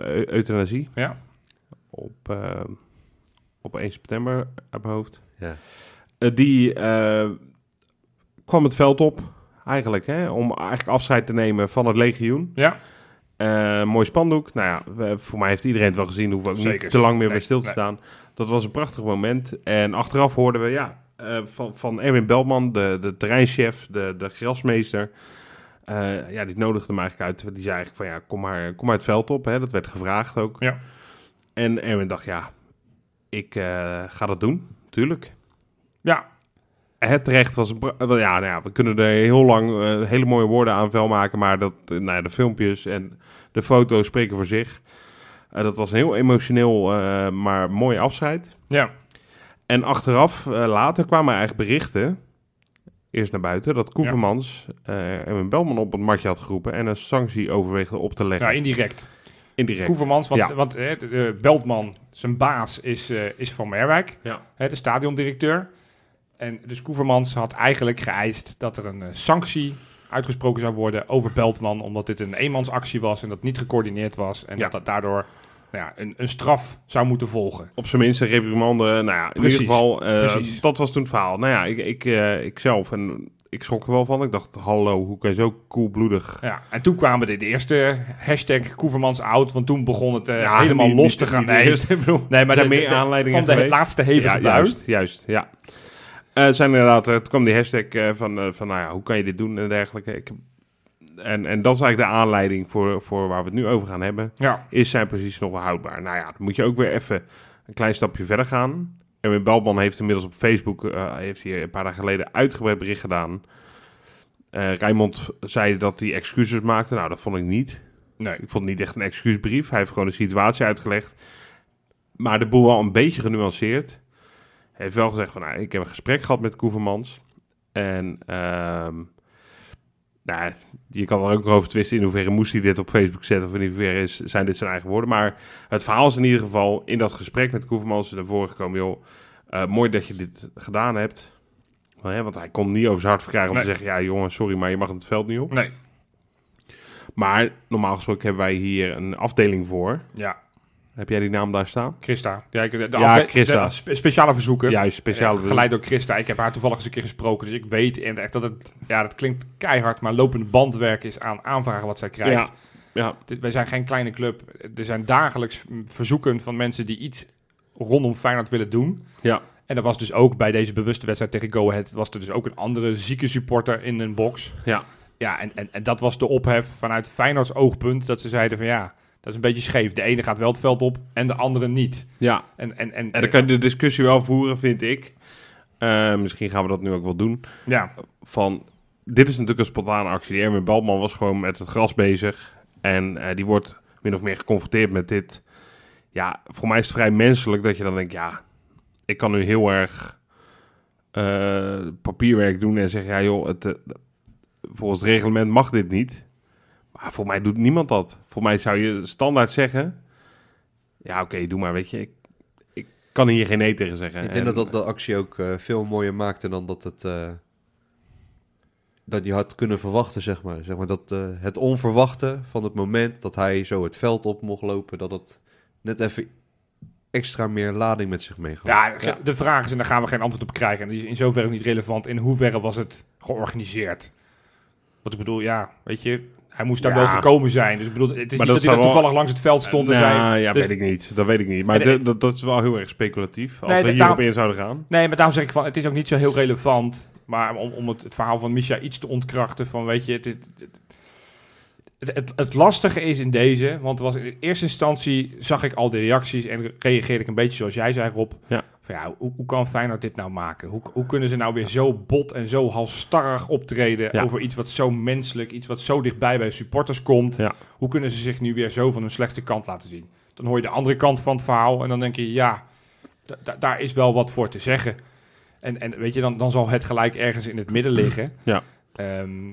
eh, eu- euthanasie. Ja. Op, eh, op 1 september uit mijn hoofd. Ja. Eh, die eh, kwam het veld op, eigenlijk, hè, om eigenlijk afscheid te nemen van het legioen. Ja. Eh, mooi spandoek. Nou ja, we- voor mij heeft iedereen het wel gezien. Hoeven we ook Zeker. niet te lang meer Nee, bij stil te nee. staan. Dat was een prachtig moment. En achteraf hoorden we ja, eh, van, van Erwin Beltman, de, de terreinchef, de, de grasmeester. Eh, ja, die nodigde hem eigenlijk uit. Die zei eigenlijk van ja, kom maar, kom maar het veld op. Hè. Dat werd gevraagd ook. Ja. En Erwin dacht ja, ik eh, ga dat doen. Tuurlijk. Ja, Het terecht was... een pra- eh, wel, Ja, nou ja, we kunnen er heel lang eh, hele mooie woorden aan vuil maken. Maar dat, eh, nou ja, de filmpjes en de foto's spreken voor zich. Eh, dat was een heel emotioneel, eh, maar mooi afscheid. ja. En achteraf, eh, later kwamen er eigenlijk berichten... Eerst naar buiten, dat Koevermans eh, en een Belman op het matje had geroepen... en een sanctie overweegde op te leggen. ja indirect. Indirect. Koevermans, want, Ja. want eh, de- de Beltman, zijn baas, is, eh, is van Merwijk, Ja. hè, de stadiondirecteur. En dus Koevermans had eigenlijk geëist dat er een eh, sanctie uitgesproken zou worden over Beltman, omdat dit een eenmansactie was en dat niet gecoördineerd was. En Ja. dat dat daardoor nou ja, een, een straf zou moeten volgen. op zijn minst een reprimande. Nou ja, in Precies, ieder geval, eh, precies. dat was toen het verhaal. Nou ja, ik, ik, eh, ik zelf en ik schrok er wel van. Ik dacht, hallo, hoe kan je zo koelbloedig... Ja, en toen kwamen de, de eerste hashtag Koevermans out, want toen begon het eh, Ja, helemaal niet- los niet- te gaan. niet Nee, eerst, ik bedoel, nee, maar er zijn de- meer de- de- aanleidingen van de geweest. laatste hevige ja, bui. juist, juist, ja. Eh zijn inderdaad, eh, het kwam die hashtag eh, van, eh, van, nou ja, hoe kan je dit doen en dergelijke. Ik, en, en dat is eigenlijk de aanleiding voor, voor waar we het nu over gaan hebben. Ja, is zijn positie nog wel houdbaar? Nou ja, dan moet je ook weer even een klein stapje verder gaan. Erwin Belman heeft inmiddels op Facebook eh, heeft hij een paar dagen geleden uitgebreid bericht gedaan. Eh Rijmond zei dat hij excuses maakte. Nou, dat vond ik niet. nee. Ik vond het niet echt een excuusbrief. Hij heeft gewoon de situatie uitgelegd. Maar de boel wel een beetje genuanceerd. Hij heeft wel gezegd van, nou, ik heb een gesprek gehad met Koevermans. En ehm, nou, je kan er ook over twisten in hoeverre moest hij dit op Facebook zetten... of in hoeverre is, zijn dit zijn eigen woorden. Maar het verhaal is in ieder geval in dat gesprek met Koevermans naar voren gekomen... joh, eh, mooi dat je dit gedaan hebt. Wel, hè, want hij kon niet over zijn hart verkrijgen om Nee. te zeggen... ja jongen, sorry, maar je mag het veld niet op. Nee, Maar normaal gesproken hebben wij hier een afdeling voor. ja. Heb jij die naam daar staan? Christa. Ja, ik- de, de Ja, afde- Christa. de spe- speciale verzoeken. Juist, speciale. Eh, Geleid door Christa. Ik heb haar toevallig eens een keer gesproken, dus ik weet en echt dat het, ja, dat klinkt keihard, maar lopende bandwerk is aan aanvragen wat zij krijgt. Ja, ja, Dit- wij zijn geen kleine club. Er zijn dagelijks mm, verzoeken van mensen die iets rondom Feyenoord willen doen. ja. En er was dus ook bij deze bewuste wedstrijd tegen Go Ahead, was er dus ook een andere zieke supporter in een box. Ja. Ja, en, en, en dat was de ophef vanuit Feyenoords oogpunt, dat ze zeiden van ja, dat is een beetje scheef. De ene gaat wel het veld op en de andere niet. ja. En, en, en, En dan kan je de discussie wel voeren, vind ik. Eh, misschien gaan we dat nu ook wel doen. ja. Van, dit is natuurlijk een spontane actie. Die Erwin Baltman was gewoon met het gras bezig. En eh, die wordt min of meer geconfronteerd met dit. Ja, voor mij is het vrij menselijk dat je dan denkt, ja, ik kan nu heel erg eh, papierwerk doen en zeggen, ja joh, het, eh, volgens het reglement mag dit niet. Maar voor mij doet niemand dat. Voor mij zou je standaard zeggen, ja oké, doe maar, weet je, ik, ik kan hier geen nee tegen zeggen. Ik denk En- dat dat de actie ook eh, veel mooier maakte dan dat het... eh, dat je had kunnen verwachten, zeg maar. Zeg maar dat eh, het onverwachte van het moment dat hij zo het veld op mocht lopen... dat het net even extra meer lading met zich meegaf. Ja, ge- de vraag is, en daar gaan we geen antwoord op krijgen. En die is in zoverre ook niet relevant. In hoeverre was het georganiseerd? Wat ik bedoel, ja, weet je, hij moest daar Ja. wel gekomen zijn. Dus ik bedoel, het is Maar dat niet dat, hij zou daar wel- toevallig langs het veld stond en Nou, zei... ja, dus- weet ik niet. Dat weet ik niet. Maar En- d- dat, dat is wel heel erg speculatief. Als Nee, we da- hierop daarom- in zouden gaan. Nee, maar daarom zeg ik van, het is ook niet zo heel relevant. Maar om, om het, het verhaal van Misha iets te ontkrachten van, weet je... Het, het, het, het- het lastige is in deze, want was in eerste instantie zag ik al de reacties en reageerde ik een beetje zoals jij zei Rob. Ja. Van ja, hoe, hoe kan Feyenoord dit nou maken? Hoe, hoe kunnen ze nou weer zo bot en zo halstarrig optreden Ja. over iets wat zo menselijk, iets wat zo dichtbij bij supporters komt? Ja. Hoe kunnen ze zich nu weer zo van hun slechte kant laten zien? Dan hoor je de andere kant van het verhaal en dan denk je, ja, da- da- daar is wel wat voor te zeggen. En, en weet je, dan, dan zal het gelijk ergens in het midden liggen. Ja. Ehm,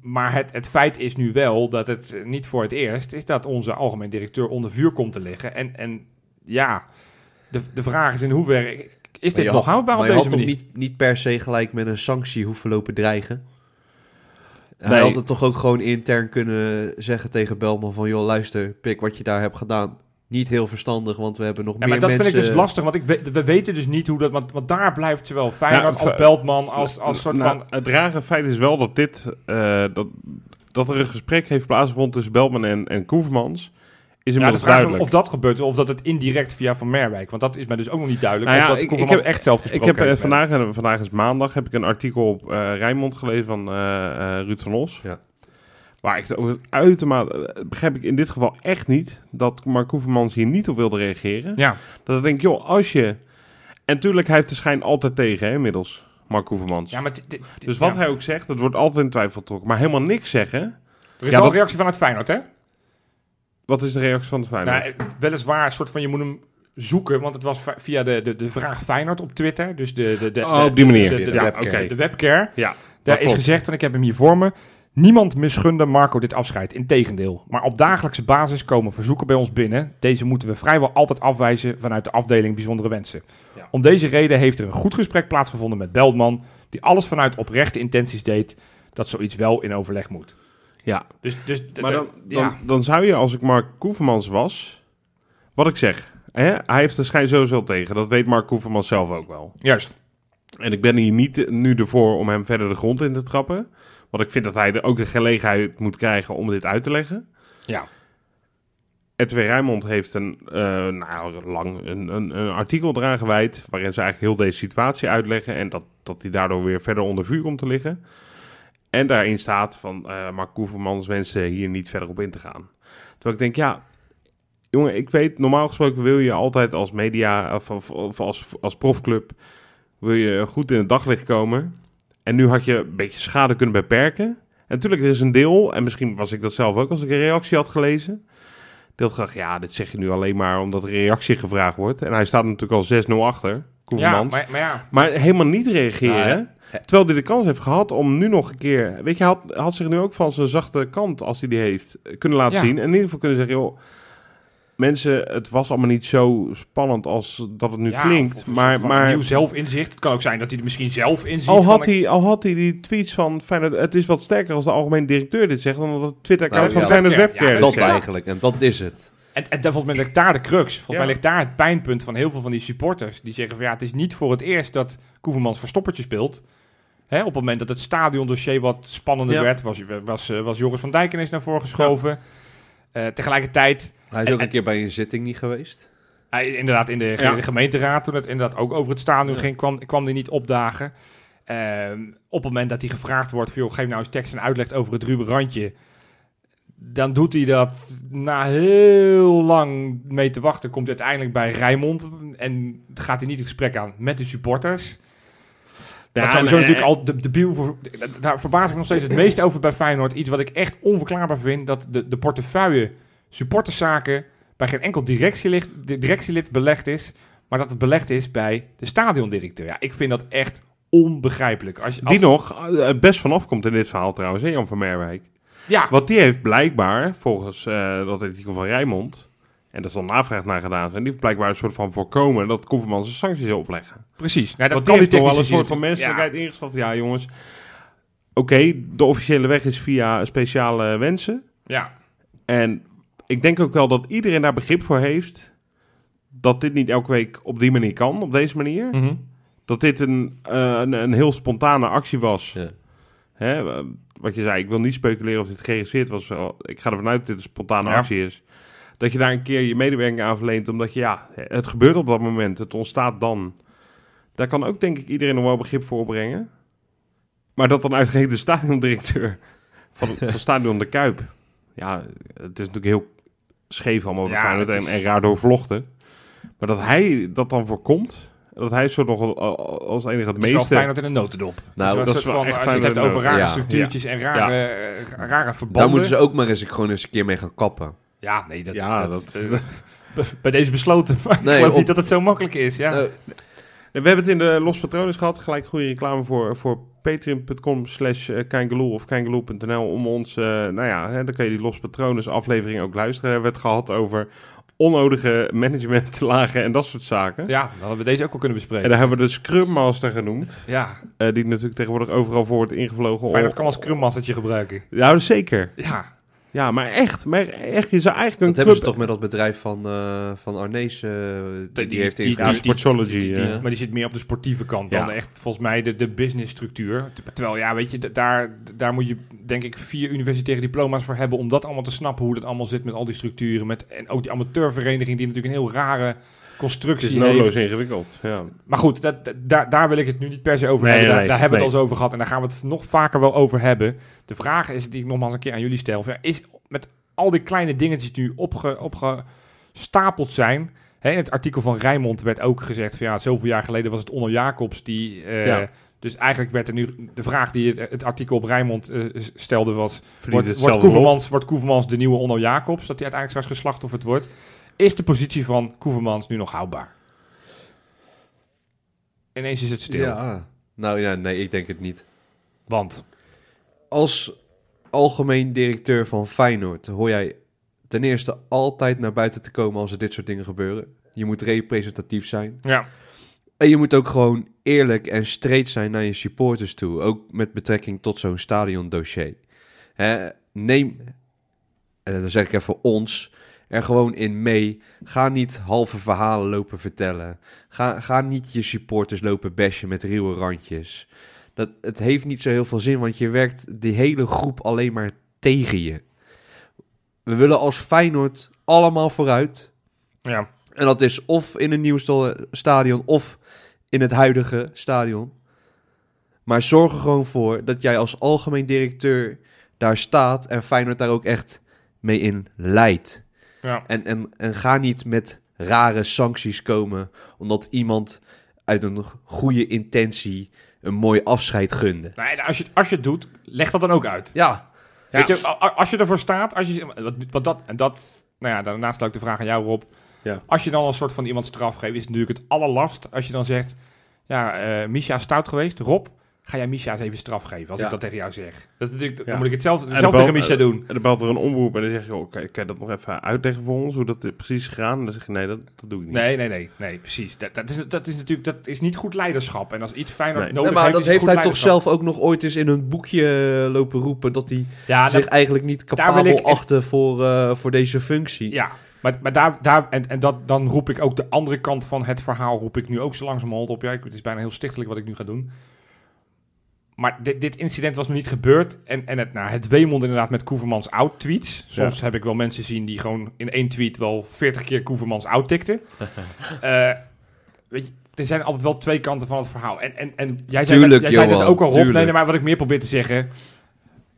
maar het, het feit is nu wel dat het eh, niet voor het eerst is dat onze algemeen directeur onder vuur komt te liggen. En, en ja, de, de vraag is in hoeverre is dit je nog had- houdbaar op maar je deze had manier? hem niet, niet per se gelijk met een sanctie hoeven lopen dreigen. Hij Nee. had het toch ook gewoon intern kunnen zeggen tegen Belman van... joh, luister, pik, wat je daar hebt gedaan, niet heel verstandig... want we hebben nog Ja, meer maar dat mensen... vind ik dus lastig, want ik weet, we weten dus niet hoe dat... Want, want daar blijft zowel Feyenoord Nou, als Beltman als, als soort Nou, van... Het rare feit is wel dat dit... eh, dat, dat er een gesprek heeft plaatsgevonden tussen Belman en, en Koevermans... Is Ja, de inmiddels vraag is duidelijk. of dat gebeurt of dat het indirect via Van Merwijk. Want dat is mij dus ook nog niet duidelijk. Nou of ja, dat ik- Koeman ik heb- echt zelf Ik gesproken heb eh, heeft. vandaag, en vandaag is maandag, heb ik een artikel op eh Rijnmond gelezen van eh, eh, Ruud van Os. Ja. Waar ik het over uitermate... eh, begrijp ik in dit geval echt niet dat Mark Koevermans hier niet op wilde reageren. Ja, Dat ik denk, joh, als je... En tuurlijk, hij heeft de schijn altijd tegen, hè, inmiddels. Mark Koevermans. ja maar... dit- dit- dit- dus wat ja. hij ook zegt, dat wordt altijd in twijfel getrokken. Maar helemaal niks zeggen. Er is Ja, wel dat- een reactie van het Feyenoord, hè? Wat is de reactie van de Feyenoord? Nou, eh, weliswaar een soort van, je moet hem zoeken, want het was va- via de, de, de vraag Feyenoord op Twitter. Dus de, de, de, oh, de- op die de- manier. De, de, de- ja, oké. webcam. de webcare. Ja, dat Daar is klopt. gezegd, van ik heb hem hier voor me. Niemand misgunde Marco dit afscheid, integendeel. Maar op dagelijkse basis komen verzoeken bij ons binnen. Deze moeten we vrijwel altijd afwijzen vanuit de afdeling Bijzondere Wensen. Ja. Om deze reden heeft er een goed gesprek plaatsgevonden met Beltman, die alles vanuit oprechte intenties deed, dat zoiets wel in overleg moet. Ja. Dus, dus Maar dan, ja. dan, dan zou je, als ik Mark Koevermans was... Wat ik zeg. Hè, hij heeft de schijn sowieso wel tegen. Dat weet Mark Koevermans zelf ook wel. Juist. En ik ben hier niet eh, nu ervoor om hem verder de grond in te trappen. Want ik vind dat hij er ook de gelegenheid moet krijgen om dit uit te leggen. Ja. RTW Rijnmond heeft een, eh, nou, ja, lang een, een, een artikel eraan gewijd. waarin ze eigenlijk heel deze situatie uitleggen. en dat, dat hij daardoor weer verder onder vuur komt te liggen. En daarin staat van. eh Mark Koevermans wensen hier niet verder op in te gaan. Terwijl ik denk, ja. jongen, ik weet, normaal gesproken wil je altijd als media. of, of, of als, als profclub. wil je goed in het daglicht komen. En nu had je een beetje schade kunnen beperken. En natuurlijk, er is een deel. en misschien was ik dat zelf ook als ik een reactie had gelezen. Deel graag, ja, dit zeg je nu alleen maar omdat er reactie gevraagd wordt. En hij staat natuurlijk al 6-0 achter, Ja, Koevermans. maar... maar, maar ja. helemaal niet Nou, reageren. Terwijl hij de kans heeft gehad om nu nog een keer... Weet je, hij had, had zich nu ook van zijn zachte kant, als hij die heeft, eh, kunnen laten Ja. zien. En in ieder geval kunnen zeggen, joh... Mensen, het was allemaal niet zo spannend als dat het nu Ja, klinkt. of- of maar, een soort van maar nieuw zelfinzicht. Het kan ook zijn dat hij er misschien zelf in ziet. al, van, had hij, al had hij die tweets van Feyenoord... Het is wat sterker als de algemeen directeur dit zegt... dan dat het Twitter-account Nou, van ja. Feyenoord Webcare, Webcare ja, dit Dat zegt. eigenlijk, en dat is het. En, en daar- volgens mij ligt daar de crux. Volgens Ja. mij ligt daar het pijnpunt van heel veel van die supporters. Die zeggen van ja, het is niet voor het eerst dat Koevermans verstoppertje speelt. Hè, op het moment dat het stadiondossier wat spannender Ja. werd, was, was, eh, was Joris van Dijk ineens naar voren geschoven. Eh, tegelijkertijd, Hij is ook een keer bij een zitting niet geweest. hij, inderdaad in de, Ja. de gemeenteraad, toen het inderdaad ook over het stadion ging, kwam, kwam hij niet opdagen. Ehm, op het moment dat hij gevraagd wordt, van, joh, geef nou eens tekst en uitleg over het ruwe randje. Dan doet hij dat na heel lang mee te wachten. Komt hij uiteindelijk bij Rijmond en gaat hij niet het gesprek aan met de supporters. Ja, dat en- eh, sowieso en- natuurlijk al de, de biel voor, daar verbaas ik me nog steeds het meest over bij Feyenoord. Iets wat ik echt onverklaarbaar vind, dat de, de portefeuille supporterszaken bij geen enkel directielid, directielid belegd is, maar dat het belegd is bij de stadiondirecteur. Ja, ik vind dat echt onbegrijpelijk. Als, je- als, Die nog eh, best vanaf komt in dit verhaal trouwens, hè, Jan van Merwijk. Ja, Want die heeft blijkbaar, volgens eh, dat artikel van Rijmond, en dat is dan navraag naar gedaan, zijn, die heeft blijkbaar een soort van voorkomen dat Kofferman zijn sancties zou opleggen. precies. Nou, dat Want die kan heeft die toch technisch wel een soort van Ja. menselijkheid ingeschat. Ja, jongens. Oké, de officiële weg is via speciale wensen. Ja. En ik denk ook wel dat iedereen daar begrip voor heeft. Dat dit niet elke week op die manier kan, op deze manier. Mhm. Dat dit een, eh, een, een heel spontane actie was. Ja. Hè, eh, wat je zei, ik wil niet speculeren of dit geregisseerd was. Wel, Ik ga ervan uit dat dit een spontane Ja. actie is. Dat je daar een keer je medewerking aan verleent. Omdat je, ja, het gebeurt op dat moment. Het ontstaat dan. Daar kan ook, denk ik, iedereen nog wel begrip voor opbrengen. Maar dat dan uitgerekend de stadiondirecteur van, van Stadion de Kuip. Ja, het is natuurlijk heel scheef allemaal. Ja, Ja, het en, is- en raar doorvlochten. Maar dat hij dat dan voorkomt. Dat hij zo nog al- al- als enige het, Het is wel meeste... fijn dat in een notendop. Het Nou, een dat soort is wel van, echt als je het fijn hebt dat in over een- rare ja. structuurtjes en rare, eh, rare verbanden. Daar moeten ze ook maar eens gewoon eens een keer mee gaan kappen. Ja, nee, dat, ja, dat, dat, b- bij deze besloten. Maar ik Nee, geloof op- niet dat het zo makkelijk is. Ja. Nou, We hebben het in de Los Patrones gehad. Gelijk goede reclame voor, voor patreon.com slash keingeloel of keingeloel.nl om ons... eh, nou ja, hè, dan kan je die Los Patrones aflevering ook luisteren. We hebben het gehad over onnodige managementlagen en dat soort zaken. ja, dan hadden we deze ook al kunnen En bespreken. daar hebben we de Scrum Master genoemd. Ja, eh, die natuurlijk tegenwoordig overal voor wordt ingevlogen. fijn dat om- kan als krummastertje gebruiken. Ja, zeker. Ja, Ja, maar echt. Maar echt, je zou eigenlijk een dat hebben ze club... toch met dat bedrijf van, eh van Arnees. eh, die, die- die heeft die- ingehuurd. Ja, die- Sportsology. die- eh. Ja. maar die zit meer op de sportieve kant Ja. dan echt volgens mij de, de business structuur. Ter- Terwijl, ja, weet je, d- daar, daar moet je denk ik vier universitaire diploma's voor hebben om dat allemaal te snappen, hoe dat allemaal zit met al die structuren. Met, en ook die amateurvereniging die natuurlijk een heel rare het is constructie heeft. noodloos ingewikkeld. Ja. Maar goed, dat, dat- daar, daar wil ik het nu niet per se over Nee, hebben. nee, daar daar nee. hebben we het al eens over gehad en daar gaan we het nog vaker wel over hebben. De vraag is, die ik nogmaals een keer aan jullie stel, van, ja, is met al die kleine dingetjes die nu opge, opgestapeld zijn... Hè, in het artikel van Rijmond werd ook gezegd van ja, zoveel jaar geleden was het Onno Jacobs die... eh, Ja. Dus eigenlijk werd er nu de vraag die het, het artikel op Rijmond eh, stelde was... Verdient Wordt, wordt, hetzelfde lot. Koevermans, wordt Koevermans de nieuwe Onno Jacobs, dat hij uiteindelijk straks geslachtofferd wordt? Is de positie van Koevermans nu nog houdbaar? Ineens is het stil, Ja. Nou ja, nee, ik denk het niet. want Als algemeen directeur van Feyenoord hoor jij ten eerste altijd naar buiten te komen als er dit soort dingen gebeuren. Je moet representatief zijn. ja, En je moet ook gewoon eerlijk en streed zijn naar je supporters toe. Ook met betrekking tot zo'n stadiondossier. Hè, neem, en dan zeg ik even ons, er gewoon in mee. Ga niet halve verhalen lopen vertellen. Ga, ga niet je supporters lopen bashen met ruwe randjes. Dat, het heeft niet zo heel veel zin, want je werkt die hele groep alleen maar tegen je. We willen als Feyenoord allemaal vooruit. ja. En dat is of in een nieuw sto- stadion of in het huidige stadion. Maar zorg er gewoon voor dat jij als algemeen directeur daar staat en Feyenoord daar ook echt mee in leidt. ja. En, en, en ga niet met rare sancties komen omdat iemand uit een goede intentie een mooi afscheid gunde. Nou, en als, je, het- als je het doet, leg dat dan ook uit. Ja, Weet je, a- a- als je ervoor staat, als je, wat, wat dat, en dat, nou ja, daarnaast sluit ik de vraag aan jou Rob. Ja. Als je dan een soort van iemand straf geeft, is het natuurlijk het allerlast als je dan zegt, ja, eh Misha is stout geweest, Rob, ga jij Misha eens even straf geven als Ja. ik dat tegen jou zeg. Dat is natuurlijk, Ja. dan moet ik het zelf, En zelf dan- tegen Misha doen. En dan belt er een omroep en dan zeg je, oh, kan, kan je dat nog even uitleggen voor ons? Hoe dat eh, precies is gegaan? En dan zeg je, nee, dat, dat doe ik niet. Nee, nee, nee, nee, precies. Dat, dat, is, dat is natuurlijk dat is niet goed leiderschap. En als iets Feyenoord Nee. nodig maar heeft, dat is het heeft goed hij toch leiderschap. zelf ook nog ooit eens in een boekje eh, lopen roepen dat hij Ja, dat- zich eigenlijk niet wil ik capabel echt- achtte voor, eh, voor deze functie. ja. maar, maar daar, daar en, en dat, dan roep ik ook de andere kant van het verhaal roep ik nu ook zo langzamerhand op. Ja, ik, het is bijna heel stichtelijk wat ik nu ga doen. Maar dit, dit incident was nog niet gebeurd. En, en het, nou, het wemelde inderdaad met Koevermans out-tweets. Soms heb ik wel mensen zien die gewoon in één tweet wel 40 keer Koevermans out tikten. Eh, weet je, er zijn altijd wel twee kanten van het verhaal. En, en, en jij zei, Tuurlijk, dat, jij zei dat Johan, ook al, Rob. tuurlijk. Nee, nee, maar wat ik meer probeer te zeggen...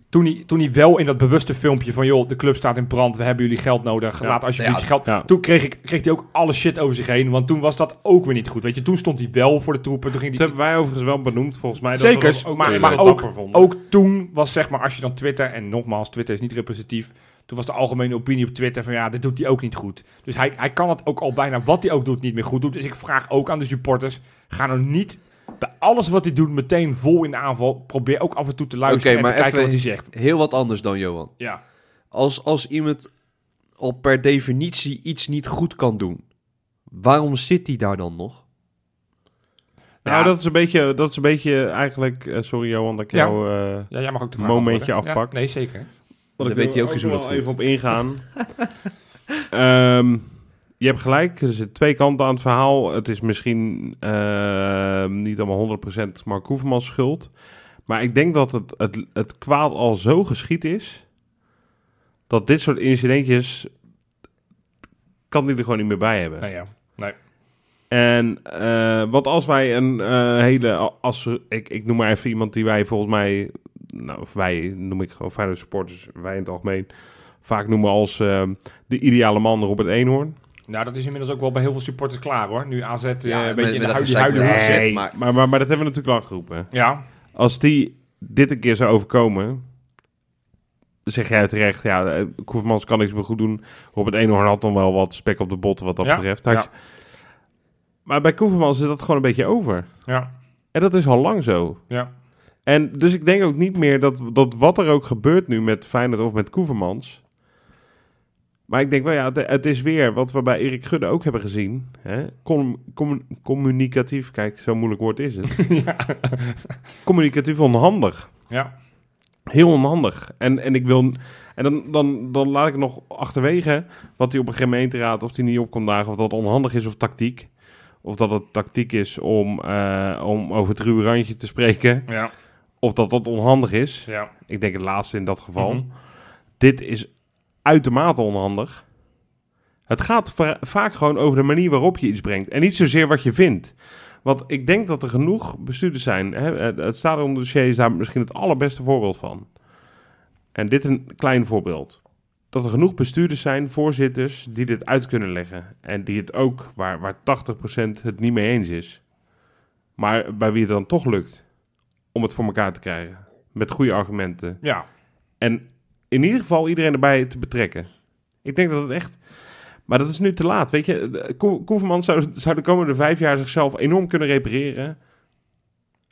Toen hij, toen hij wel in dat bewuste filmpje van... joh, de club staat in brand, we hebben jullie geld nodig... Ja. laat alsjeblieft Ja. je geld... Ja. Toen kreeg, ik, kreeg hij ook alle shit over zich heen... want toen was dat ook weer niet goed. Weet je, toen stond hij wel voor de troepen. Toen ging Dat hij hebben wij overigens wel benoemd, volgens mij. Dat Zeker, we dat maar- heel maar dapper vonden. ook toen was zeg maar, als je dan Twitter, en nogmaals, Twitter is niet representatief. Toen was de algemene opinie op Twitter van ja, dit doet hij ook niet goed. Dus hij, hij kan het ook al bijna wat hij ook doet niet meer goed doen. Dus ik vraag ook aan de supporters, ga nou niet bij alles wat hij doet meteen vol in de aanval. Probeer ook af en toe te luisteren Oké, en maar te kijken even- wat hij zegt. Heel wat anders dan Johan. Ja, Als, als iemand al per definitie iets niet goed kan doen, waarom zit hij daar dan nog? Nou, Ja. dat is een beetje, dat is een beetje eigenlijk... eh, sorry Johan, dat ik Ja. jou... eh, ja jij mag ook de vraag Momentje beantwoorden. Ja, afpakken. nee, zeker. Want Dan ik weet wil hij ook eens hoe wel dat even voelt. op ingaan. Ehm, je hebt gelijk, er zitten twee kanten aan het verhaal. Het is misschien ehm, niet allemaal 100% Mark Hoefmans schuld. Maar ik denk dat het, het, het kwaad al zo geschied is... dat dit soort incidentjes... kan die er gewoon niet meer bij hebben. Nou ja. En eh, want als wij een eh, hele, als we- ik, ik noem maar even iemand die wij volgens mij, nou of wij noem ik gewoon Feyenoord supporters, wij in het algemeen vaak noemen als eh, de ideale man Robert Eenhoorn. Nou, dat is inmiddels ook wel bij heel veel supporters klaar hoor. Nu AZ eh, Ja, een met- beetje in de met dat huid- gezeik met huidige AZ. zit. Nee. maar- maar, maar, maar dat hebben we natuurlijk lang geroepen. Ja, Als die dit een keer zou overkomen, zeg jij terecht, ja, eh, Koevermans kan niks meer goed doen. Robert Eenhoorn had dan wel wat spek op de botten wat dat Ja, betreft. Had ja. je- Maar bij Koevermans is dat gewoon een beetje over. ja, En dat is al lang zo. ja. En dus ik denk ook niet meer dat, dat wat er ook gebeurt nu met Feyenoord of met Koevermans. Maar ik denk wel, ja, het, het is weer wat we bij Erik Gudde ook hebben gezien. Hè? Com- com- communicatief, kijk, zo'n moeilijk woord is het. Communicatief onhandig. ja. Heel onhandig. En, en, ik wil, en dan, dan, dan laat ik nog achterwege wat hij op een gemeenteraad, of hij niet op kon dagen, of dat onhandig is of tactiek. Of dat het tactiek is om, eh, om over het ruwe randje te spreken ja, of dat dat onhandig is. ja. Ik denk het laatste in dat geval. Mhm. Dit is uitermate onhandig. Het gaat va- vaak gewoon over de manier waarop je iets brengt. En niet zozeer wat je vindt. Want ik denk dat er genoeg bestuurders zijn. Hè? Het- Het stadiondossier is daar misschien het allerbeste voorbeeld van. En dit een klein voorbeeld. Dat er genoeg bestuurders zijn, voorzitters, die dit uit kunnen leggen. En die het ook, waar, waar 80% het niet mee eens is. Maar bij wie het dan toch lukt om het voor elkaar te krijgen. Met goede argumenten. ja. En in ieder geval iedereen erbij te betrekken. Ik denk dat het echt... Maar dat is nu te laat, weet je. De- Ko- Koeverman zou, zou de komende vijf jaar zichzelf enorm kunnen repareren.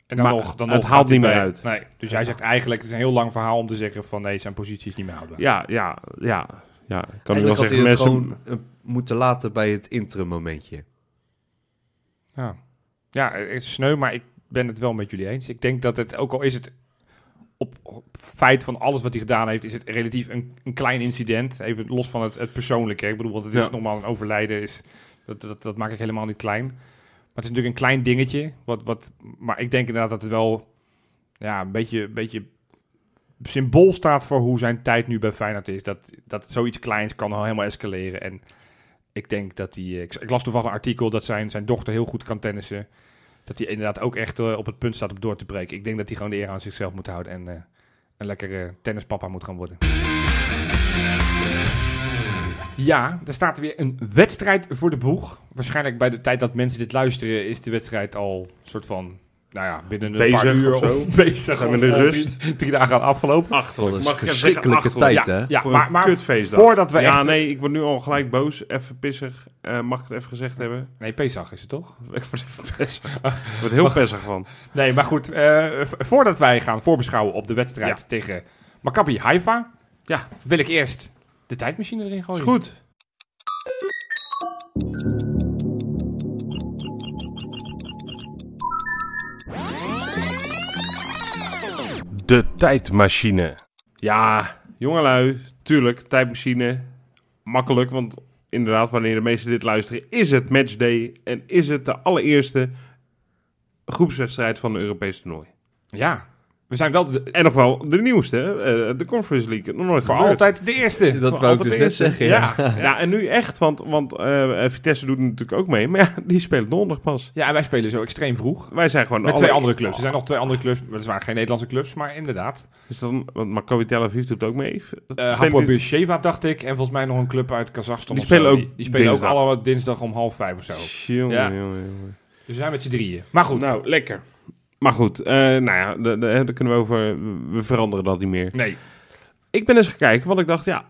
En dan Maar nog, dan het nog haalt gaat hij niet meer bij- uit. Nee. Dus jij zegt eigenlijk, het is een heel lang verhaal om te zeggen van nee, zijn positie is niet meer houdbaar. Ja, ja, ja. ja. Ik kan nu wel Eigenlijk had hij zeggen, het mensen... gewoon eh, moeten laten bij het interim momentje. Ja. ja, het is sneu, maar ik ben het wel met jullie eens. Ik denk dat het, ook al is het op, op feit van alles wat hij gedaan heeft, is het relatief een, een klein incident. Even los van het, het persoonlijke. Ik bedoel, want het is Ja. normaal een overlijden. Is, dat, dat, dat maak ik helemaal niet klein. Maar het is natuurlijk een klein dingetje. Wat, wat, maar ik denk inderdaad dat het wel ja, een beetje, een beetje symbool staat voor hoe zijn tijd nu bij Feyenoord is. Dat, dat zoiets kleins kan al helemaal escaleren. En ik denk dat hij... Ik, ik las toevallig een artikel dat zijn, zijn dochter heel goed kan tennissen. Dat hij inderdaad ook echt eh, op het punt staat om door te breken. Ik denk dat hij gewoon de eer aan zichzelf moet houden. En eh, een lekkere tennispapa moet gaan worden. Ja, er staat weer een wedstrijd voor de boeg. Waarschijnlijk bij de tijd dat mensen dit luisteren... is de wedstrijd al soort van... Nou ja, binnen een Bezig paar uur of zo. of Zijn bezig. we of in de al rust? Drie, drie dagen aan afgelopen. Dat is Achterlijk. verschrikkelijke tijd, Ja, hè? ja Voor maar, een maar kutfeestdag. voordat we ja, echt... nee, ik word nu al gelijk boos. Even pissig. Eh, mag ik het even gezegd hebben? Nee, Pesach is het toch? Ik word even pissig. Ik word heel pissig van. Nee, maar goed. eh, v- voordat wij gaan voorbeschouwen op de wedstrijd tegen Maccabi Haifa... Ja. wil ik eerst de tijdmachine erin gooien. Is goed. De tijdmachine. Ja, jongelui, tuurlijk, tijdmachine. Makkelijk, want inderdaad, wanneer de meesten dit luisteren, is het matchday en is het de allereerste groepswedstrijd van een Europees toernooi. Ja. We zijn wel de, En nog wel de nieuwste, eh, de Conference League, nog nooit voor gebeurd. altijd de eerste. Dat wou ik dus net zeggen, ja. Ja. ja. Ja, en nu echt, want, want eh, Vitesse doet natuurlijk ook mee. Maar ja, die spelen donderdag pas. Ja, en wij spelen zo extreem vroeg. Wij zijn gewoon... Met alle- Oh. twee andere clubs. Er zijn nog twee andere clubs. Weliswaar geen Nederlandse clubs, maar inderdaad. Is dan, want Maccabi Tel Aviv doet ook mee. Eh Spelen Hamburg die- Beersheva, dacht ik. En volgens mij nog een club uit Kazachstan. Die of zo. spelen ook Die, die spelen dinsdag. ook allemaal dinsdag om half vijf of zo. Jongen, Ja. jongen, jongen. Dus we zijn met z'n drieën. Maar goed. Nou, lekker. Maar goed, eh, nou ja, de- de- daar kunnen we over... We veranderen dat niet meer. Nee. Ik ben eens gaan kijken, want ik dacht, ja...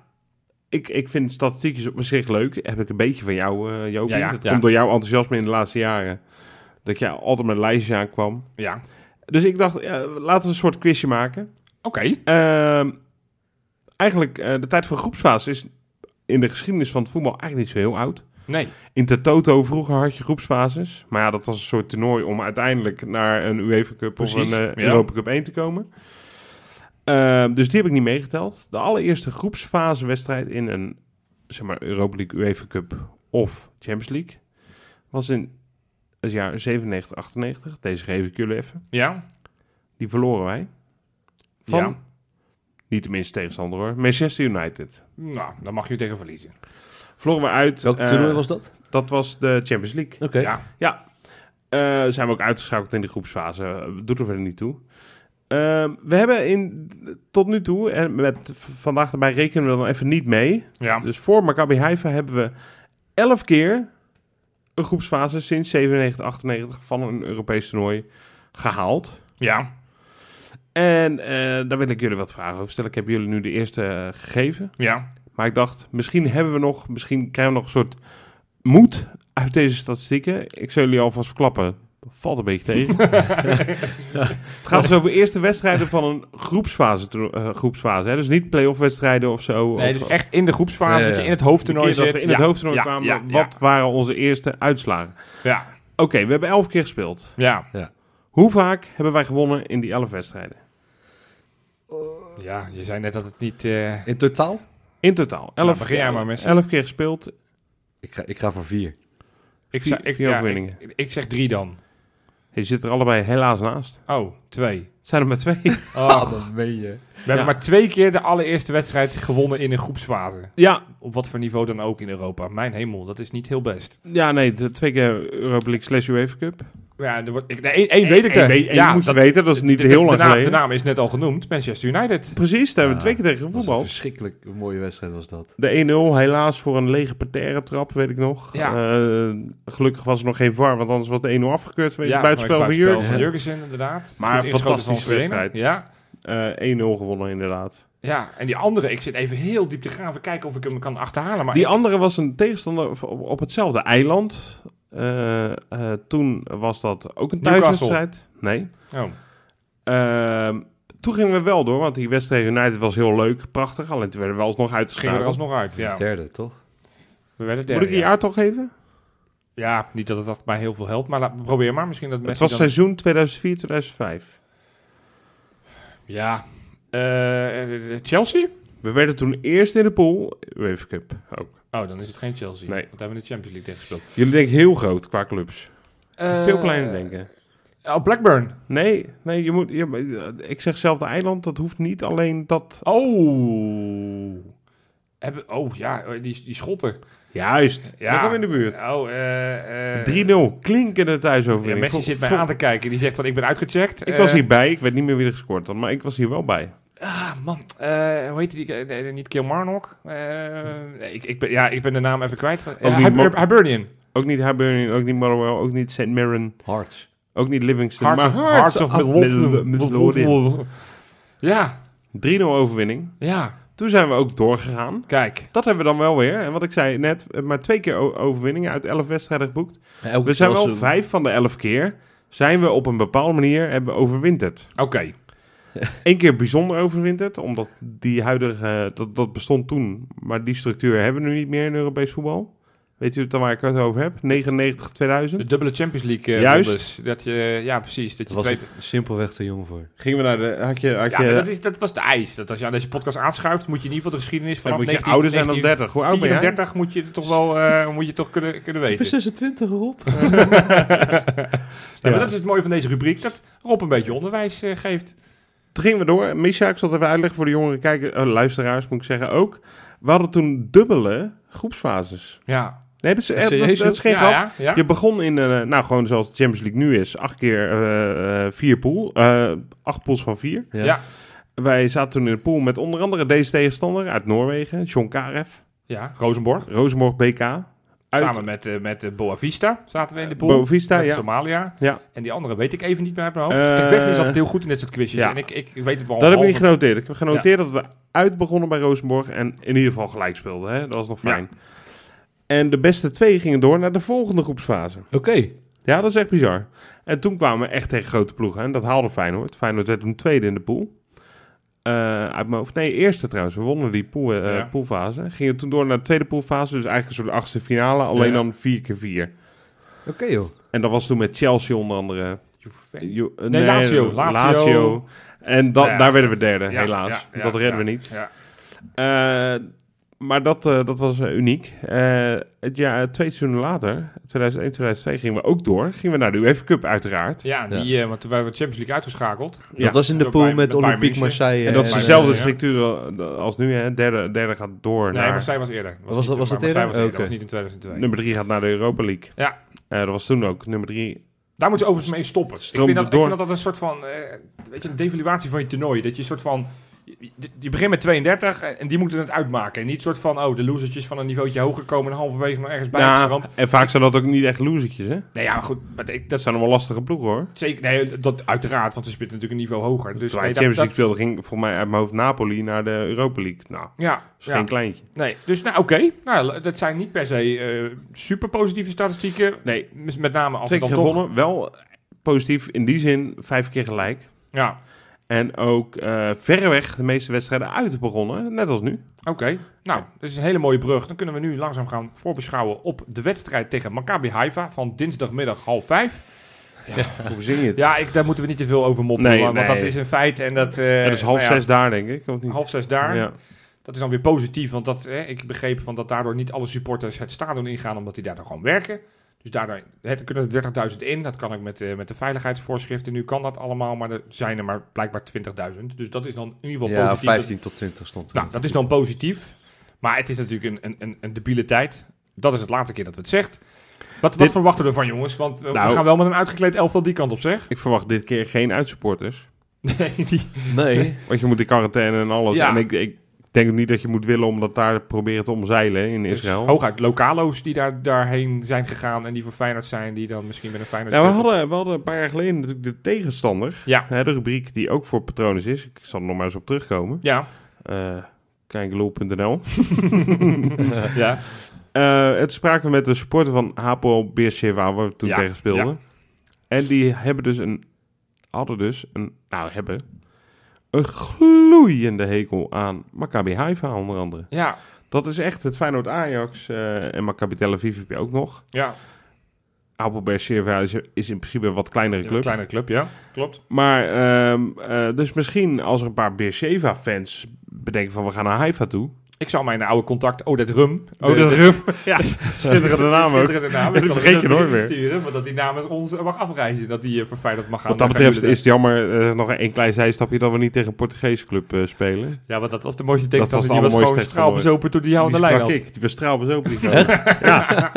ik, ik vind statistiekjes op zich leuk. Heb ik een beetje van jou, eh Jopie. Ja, ja, dat ja. komt door jouw enthousiasme in de laatste jaren. Dat je altijd met lijstjes aankwam. Ja. Dus ik dacht, ja, laten we een soort quizje maken. Oké. Ehm, eigenlijk, eh, de tijd van groepsfase is in de geschiedenis van het voetbal eigenlijk niet zo heel oud. Nee. In Toto vroeger had je groepsfases. Maar ja, dat was een soort toernooi om uiteindelijk naar een UEFA Cup of Precies, een eh, ja. Europa Cup 1 te komen. Ehm, dus die heb ik niet meegeteld. De allereerste groepsfase wedstrijd in een zeg maar, Europa League, UEFA Cup of Champions League was in het jaar 97, 98. Deze geef ik jullie even. Ja. Die verloren wij. Van, Ja. niet de minste tegenstander hoor, Manchester United. Nou, dan mag je tegen verliezen. Verloren we uit. Welk eh, toernooi was dat? Dat was de Champions League. Oké. Ja. Eh, zijn we ook uitgeschakeld in de groepsfase. Eh, Doet er verder niet toe. Ehm, we hebben in, tot nu toe, en met v- vandaag daarbij rekenen we dan even niet mee. Ja. Dus voor Maccabi Haifa hebben we 11 keer een groepsfase sinds 97, 98 van een Europees toernooi gehaald. Ja. En eh, daar wil ik jullie wat vragen over stellen. Ik heb jullie nu de eerste eh, gegeven. Ja. Maar ik dacht, misschien hebben we nog, misschien krijgen we nog een soort moed uit deze statistieken. Ik zal jullie alvast verklappen. Dat valt een beetje tegen. Ja. Het gaat dus over eerste wedstrijden van een groepsfase. toerno- eh, groepsfase hè? Dus niet play-off wedstrijden of zo. Nee, of, eh, dus echt in de groepsfase, Ja, ja. dat je in het de hoofdtoernooi keer dat zit. we in ja. het hoofdtoernooi ja. kwamen, Ja. wat waren onze eerste uitslagen? Ja. Oké, we hebben elf keer gespeeld. Ja. Hoe vaak hebben wij gewonnen in die elf wedstrijden? ja. Ja, je zei net dat het niet... eh, In totaal? In totaal. Elf, Nou, begin jij maar, Messi. elf keer gespeeld. Ik ga, ik ga voor vier. Vier- ik, zei, ik, vier ja, overwinningen. ik, ik zeg drie dan. Je zit er allebei helaas naast. Oh, twee. Zijn er maar twee. Oh, dat ben je. we hebben maar twee keer de allereerste wedstrijd gewonnen in een groepsfase. ja, Op wat voor niveau dan ook in Europa. Mijn hemel, dat is niet heel best. Ja, nee, de twee keer Europa League slash UEFA Cup. Ja, er wordt, ik, nee, één, één weet ik er. ja, moet dat- je weten, dat is niet de- heel de, lang naam, geleden. De naam is net al genoemd, Manchester United. Precies, daar hebben we twee Ja, keer tegen Dat was een voetbal. verschrikkelijk mooie wedstrijd was dat. De 1-0 helaas voor een lege parterre trap, weet ik nog. Ja. Eh, gelukkig was er nog geen VAR, want anders was de 1-0 afgekeurd. Weet je, buitenspel van buitenspel Jurgen. van Jurgensen, inderdaad. Maar Goed ingeschoten van fantastische Serena. wedstrijd. Ja, Eh 1-0 gewonnen inderdaad. ja, en die andere, ik zit even heel diep te graven, kijken of ik hem kan achterhalen. Maar Die ik- andere was een tegenstander op, op- op hetzelfde eiland. Eh, eh, toen was dat ook een Newcastle. thuiswedstrijd. Nee. Oh, Ehm, toen gingen we wel door, want die wedstrijd tegen United was heel leuk, prachtig. Alleen toen werden we alsnog gingen we er uitgeschakeld. alsnog uit, ja. Derde, toch? We werden Nou, Moet derde, ik een ja. jaartal geven? Ja, niet dat het dat mij heel veel helpt, maar laat, probeer maar. Misschien dat Het Messi was dan- seizoen 2004, 2005. Ja. Eh, eh, Chelsea? We werden toen eerst in de pool. UEFA Cup ook. Oh, dan is het geen Chelsea. Nee. Want daar hebben we de Champions League tegen gespeeld. Jullie denken heel groot qua clubs. Veel kleiner denk denken. Oh, Blackburn. Nee, nee je moet, je- ik zeg zelf de eiland, dat hoeft niet alleen dat... Oh. Hebben, oh ja, die, die schotten. Juist, Ja. ja. in de buurt. Oh, eh, eh, 3-0, klinkende Ja, thuisoverwinning. Messi Vol- zit mij vol- aan te kijken. Die zegt van, ik ben uitgecheckt. Ik Eh, was hierbij, ik weet niet meer wie er gescoord had, maar ik was hier wel bij. Ah, man. Eh, hoe heet die? eh, nee, niet Kilmarnock. Eh, nee, ik, ik ben, ja, ik ben de naam even kwijt. Eh, niet Hiber- Mo- Hibernian. Ook niet Hibernian, ook niet Motherwell, ook niet St. Mirren, Hearts. ook niet Livingston. Hearts of, maar Hearts of Midlothian. Midlothian. Midlothian. Ja, 3-0 overwinning. ja. Toen zijn we ook doorgegaan. Kijk. Dat hebben we dan wel weer. En wat ik zei net, eh, maar twee keer o- overwinningen uit elf wedstrijden geboekt. Elke We zijn was wel een- vijf van de elf keer. Zijn we op een bepaalde manier, hebben we overwinterd. Oké. Eén keer bijzonder overwinterd, omdat die huidige, eh, dat, dat bestond toen. Maar die structuur hebben we nu niet meer in Europees voetbal. Weet u dan waar ik het over heb? 99, 2000. De dubbele Champions League. eh, Juist. rondes. Dat je, ja, precies. Dat je Daar was twee... ik simpelweg te jong voor. Gingen we naar de, had je, had Ja, je, maar dat, is, dat was de eis. Dat als je aan deze podcast aanschuift, moet je in ieder geval de geschiedenis vanaf moet je ouder zijn dan 30. Hoe oud ben jij? 34 moet je toch wel eh, moet je toch kunnen, kunnen weten. 26 erop. Nee, maar Ja. dat is het mooie van deze rubriek, dat Rob een beetje onderwijs eh, geeft. Toen gingen we door. Misha, ik zal het even uitleggen voor de jongere kijkers, eh, luisteraars moet ik zeggen ook. We hadden toen dubbele groepsfases. Ja. Nee, dat is, eh, dat, Serieus, dat is geen ja, grap. Ja, ja. Je begon in, eh, nou gewoon zoals de Champions League nu is, acht keer eh, eh, vier pool, eh, acht pools van vier. Ja. Ja. Wij zaten toen in de pool met onder andere deze tegenstander uit Noorwegen, John Karev, Ja, Rosenborg. Rosenborg BK, uit Samen met, eh met eh, Boa Vista zaten we in de pool. Bovista, Met ja. Somalia. Ja. En die andere weet ik even niet meer uit mijn hoofd. Eh, Kijk, Wesley is altijd heel goed in dit soort quizjes. ja. En ik, ik weet het wel. Dat heb ik half. niet genoteerd. Ik heb genoteerd dat we uit begonnen bij Rosenborg en in ieder geval gelijk speelden. Hè? Dat was nog fijn. En de beste twee gingen door naar de volgende groepsfase. Oké. Ja, dat is echt bizar. En toen kwamen we echt tegen grote ploegen. hè, En dat haalde Feyenoord. Feyenoord werd toen tweede in de pool. Eh, uit mijn hoofd. Nee, eerste trouwens. We wonnen die pool, eh, Ja. poolfase. Gingen toen door naar de tweede poolfase. Dus eigenlijk een soort achtste finale. Alleen Ja. dan vier keer vier. Oké, joh. En dat was toen met Chelsea onder andere. Juventus. Jo- eh, Nee, Lazio, Lazio. En dat, Ja, daar werden we derde, ja, helaas. ja, ja, dat redden we ja. niet. Ja. Eh, maar dat, eh, dat was eh, uniek. Eh, het jaar, twee seizoenen later, 2001, 2002, gingen we ook door. Gingen we naar de UEFA Cup uiteraard. Ja, die, eh, want toen waren we de Champions League uitgeschakeld. Ja. Dat was in de Door pool Bayern- met door Bayern Olympique München. Marseille. En dat is eh, dezelfde ja. structuur eh, als nu. Hè. Derde, derde gaat door Nee, naar... Marseille was eerder. Was niet- dat- was dat Marseille eerder? was eerder, Oké. was niet in 2002. Nummer drie gaat naar de Europa League. Ja. Eh, dat was toen ook nummer drie. Daar moeten ze overigens mee stoppen. Ik Stroomde vind, dat, ik door. vind dat dat een soort van eh, weet je, een devaluatie van je toernooi. Dat je een soort van. Je, je begint met 32 en en die moeten het uitmaken. En niet een soort van, oh, de losertjes van een niveautje hoger komen en halverwege nog ergens bij. Nou, Nou, en vaak zijn dat ook niet echt losertjes, hè? nee, ja, goed. Maar ik, Dat dat zijn allemaal lastige ploegen, hoor. zeker, nee, dat uiteraard, want ze spitten natuurlijk een niveau hoger. Dus Toen nee, hij dat, Champions League dat, speelde, ging voor mij uit mijn hoofd Napoli naar de Europa League. Nou, ja, is ja, geen kleintje. nee. Dus nou, oké. Nou, dat zijn niet per se eh, super positieve statistieken. Nee, Mis- Met name als twee het keer dan toch. gewonnen. Wel positief in die zin, vijf keer gelijk. Ja, En ook eh, verreweg de meeste wedstrijden uit begonnen, net als nu. Oké, nou, dat is een hele mooie brug. Dan kunnen we nu langzaam gaan voorbeschouwen op de wedstrijd tegen Maccabi Haifa van dinsdagmiddag half vijf. Hoe zing je het? Ja, ik, daar moeten we niet te veel over mopperen, Nee, want want nee. dat is een feit. En dat, eh, Ja, dat is half nou ja, zes daar, denk ik. Of niet? half zes daar. Ja. Dat is dan weer positief, want dat, eh, ik begreep van dat daardoor niet alle supporters het stadion ingaan, omdat die daar dan gewoon werken. Dus daardoor hè, er kunnen er 30.000 in. Dat kan ook met, eh, met de veiligheidsvoorschriften. Nu kan dat allemaal, maar er zijn er maar blijkbaar 20.000. Dus dat is dan in ieder geval Ja, positief. Dat- 15 tot 20 stond er. nou, dat is dan positief. Maar het is natuurlijk een, een, een, een debiele tijd. Dat is het laatste keer dat we het zegt. Wat, wat Dit- verwachten we ervan, jongens? Want eh, we, we Nou- gaan wel met een uitgekleed elftal die kant op, zeg. Ik verwacht dit keer geen uitsupporters. Nee, die- Nee. Want je moet in quarantaine en alles. Ja. En ik, ik denk ook niet dat je moet willen om dat daar te proberen te omzeilen in dus Israël. hooguit lokalo's die daar, daarheen zijn gegaan en die voor Feyenoord zijn, die dan misschien met een Feyenoord... Nou, we shirt op- hadden, we hadden een paar jaar geleden natuurlijk de tegenstander. Ja. Hè, de rubriek die ook voor Patronus is. Ik zal er nog maar eens op terugkomen. Ja, Eh kijklul.nl. ja. Eh, het spraken we met de supporter van Hapoel Beersheva, waar we toen Ja, tegen speelden. ja. En die hebben dus een, hadden dus een, nou hebben, een gloeiende hekel aan Maccabi Haifa onder andere. ja, Dat is echt het Feyenoord Ajax eh, en Maccabi Tel Aviv heb je ook nog. ja. Hapoel Beersheva is, is in principe een wat kleinere Een club. kleine club, ja. Klopt. Maar, ehm, eh, dus misschien als er een paar Beersheva fans bedenken van we gaan naar Haifa toe. Ik zal mijn oude contact Odette Rum... Oh, dat is rum. Ja, schitterende naam ook. Schitterende naam. Dat Ik zal vergeet hem je nooit even meer. sturen, want dat die namens ons mag afreizen. Dat die eh, voor Feyenoord mag gaan. Wat dat Dan gaan betreft jullie is het jammer, eh, nog een klein zijstapje, dat we niet tegen een Portugese club eh, spelen. Ja, want dat was de mooiste Dat was de tegenstander. Die was gewoon allermooiste straalbezopen toen die jou aan de die lijn sprak had. ik, die was trouwens ook niet. Ja,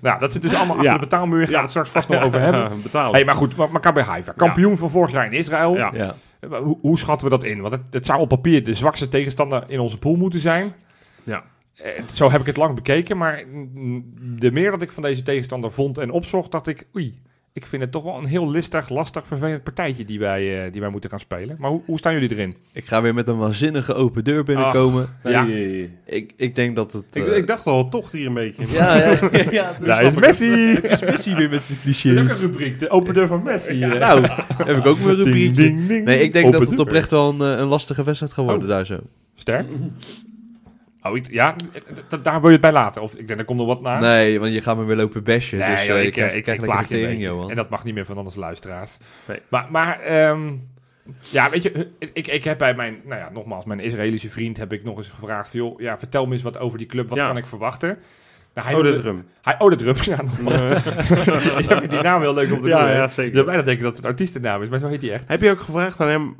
Nou, dat zit dus allemaal achter Ja. de betaalmuur. Gaan we het straks vast nog over hebben. Betalen. Hey, maar goed, Maccabi Haifa. Kampioen van vorig jaar in Israël. Ja. Ja. Eh, Hoe, hoe schatten we dat in? Want het, het zou op papier de zwakste tegenstander in onze pool moeten zijn. Ja. Eh, zo heb ik het lang bekeken. Maar mm, de meer dat ik van deze tegenstander vond en opzocht, dacht ik... Oei, ik vind het toch wel een heel listig, lastig, vervelend partijtje die wij, eh, die wij moeten gaan spelen. Maar hoe, hoe staan jullie erin? Ik ga weer met een waanzinnige open deur binnenkomen. ja. eh, Ik, ik denk dat het... Ik, eh, ik dacht al, toch hier een beetje. Ja, ja, ja. ja, Daar is Messi! Messi weer met zijn Leuke clichés. rubriek, de open deur van Messi. eh. Nou, heb ik ook mijn rubriekje. Nee, ik denk dat het oprecht wel een, eh, een lastige wedstrijd gaat worden Oh. daar zo. Sterk. Oh, ik- ja, d- d- daar wil je het bij laten. Of ik denk, er komt nog wat na. Nee, want je gaat me weer lopen bashen. Nee, dus eh, joh, je ik, krijgt- eh, je ik krijgt plaag lekker je een tering, beetje. En Johan. dat mag niet meer van anders luisteraars. Nee. Maar, maar ehm, ja, weet je, ik, ik heb bij mijn, nou ja, nogmaals, mijn Israëlische vriend heb ik nog eens gevraagd. van, Joh, ja, vertel me eens wat over die club. Wat Ja. kan ik verwachten? Nou, hij Oh, wilde- dat rum. Hij, oh, dat rum. Ja, nogmaals. Jij vindt die naam heel leuk om te Ja, doen, hè? ja, zeker. Je zou bijna denken dat het een artiestennaam is, maar zo heet hij echt. Heb je ook gevraagd aan hem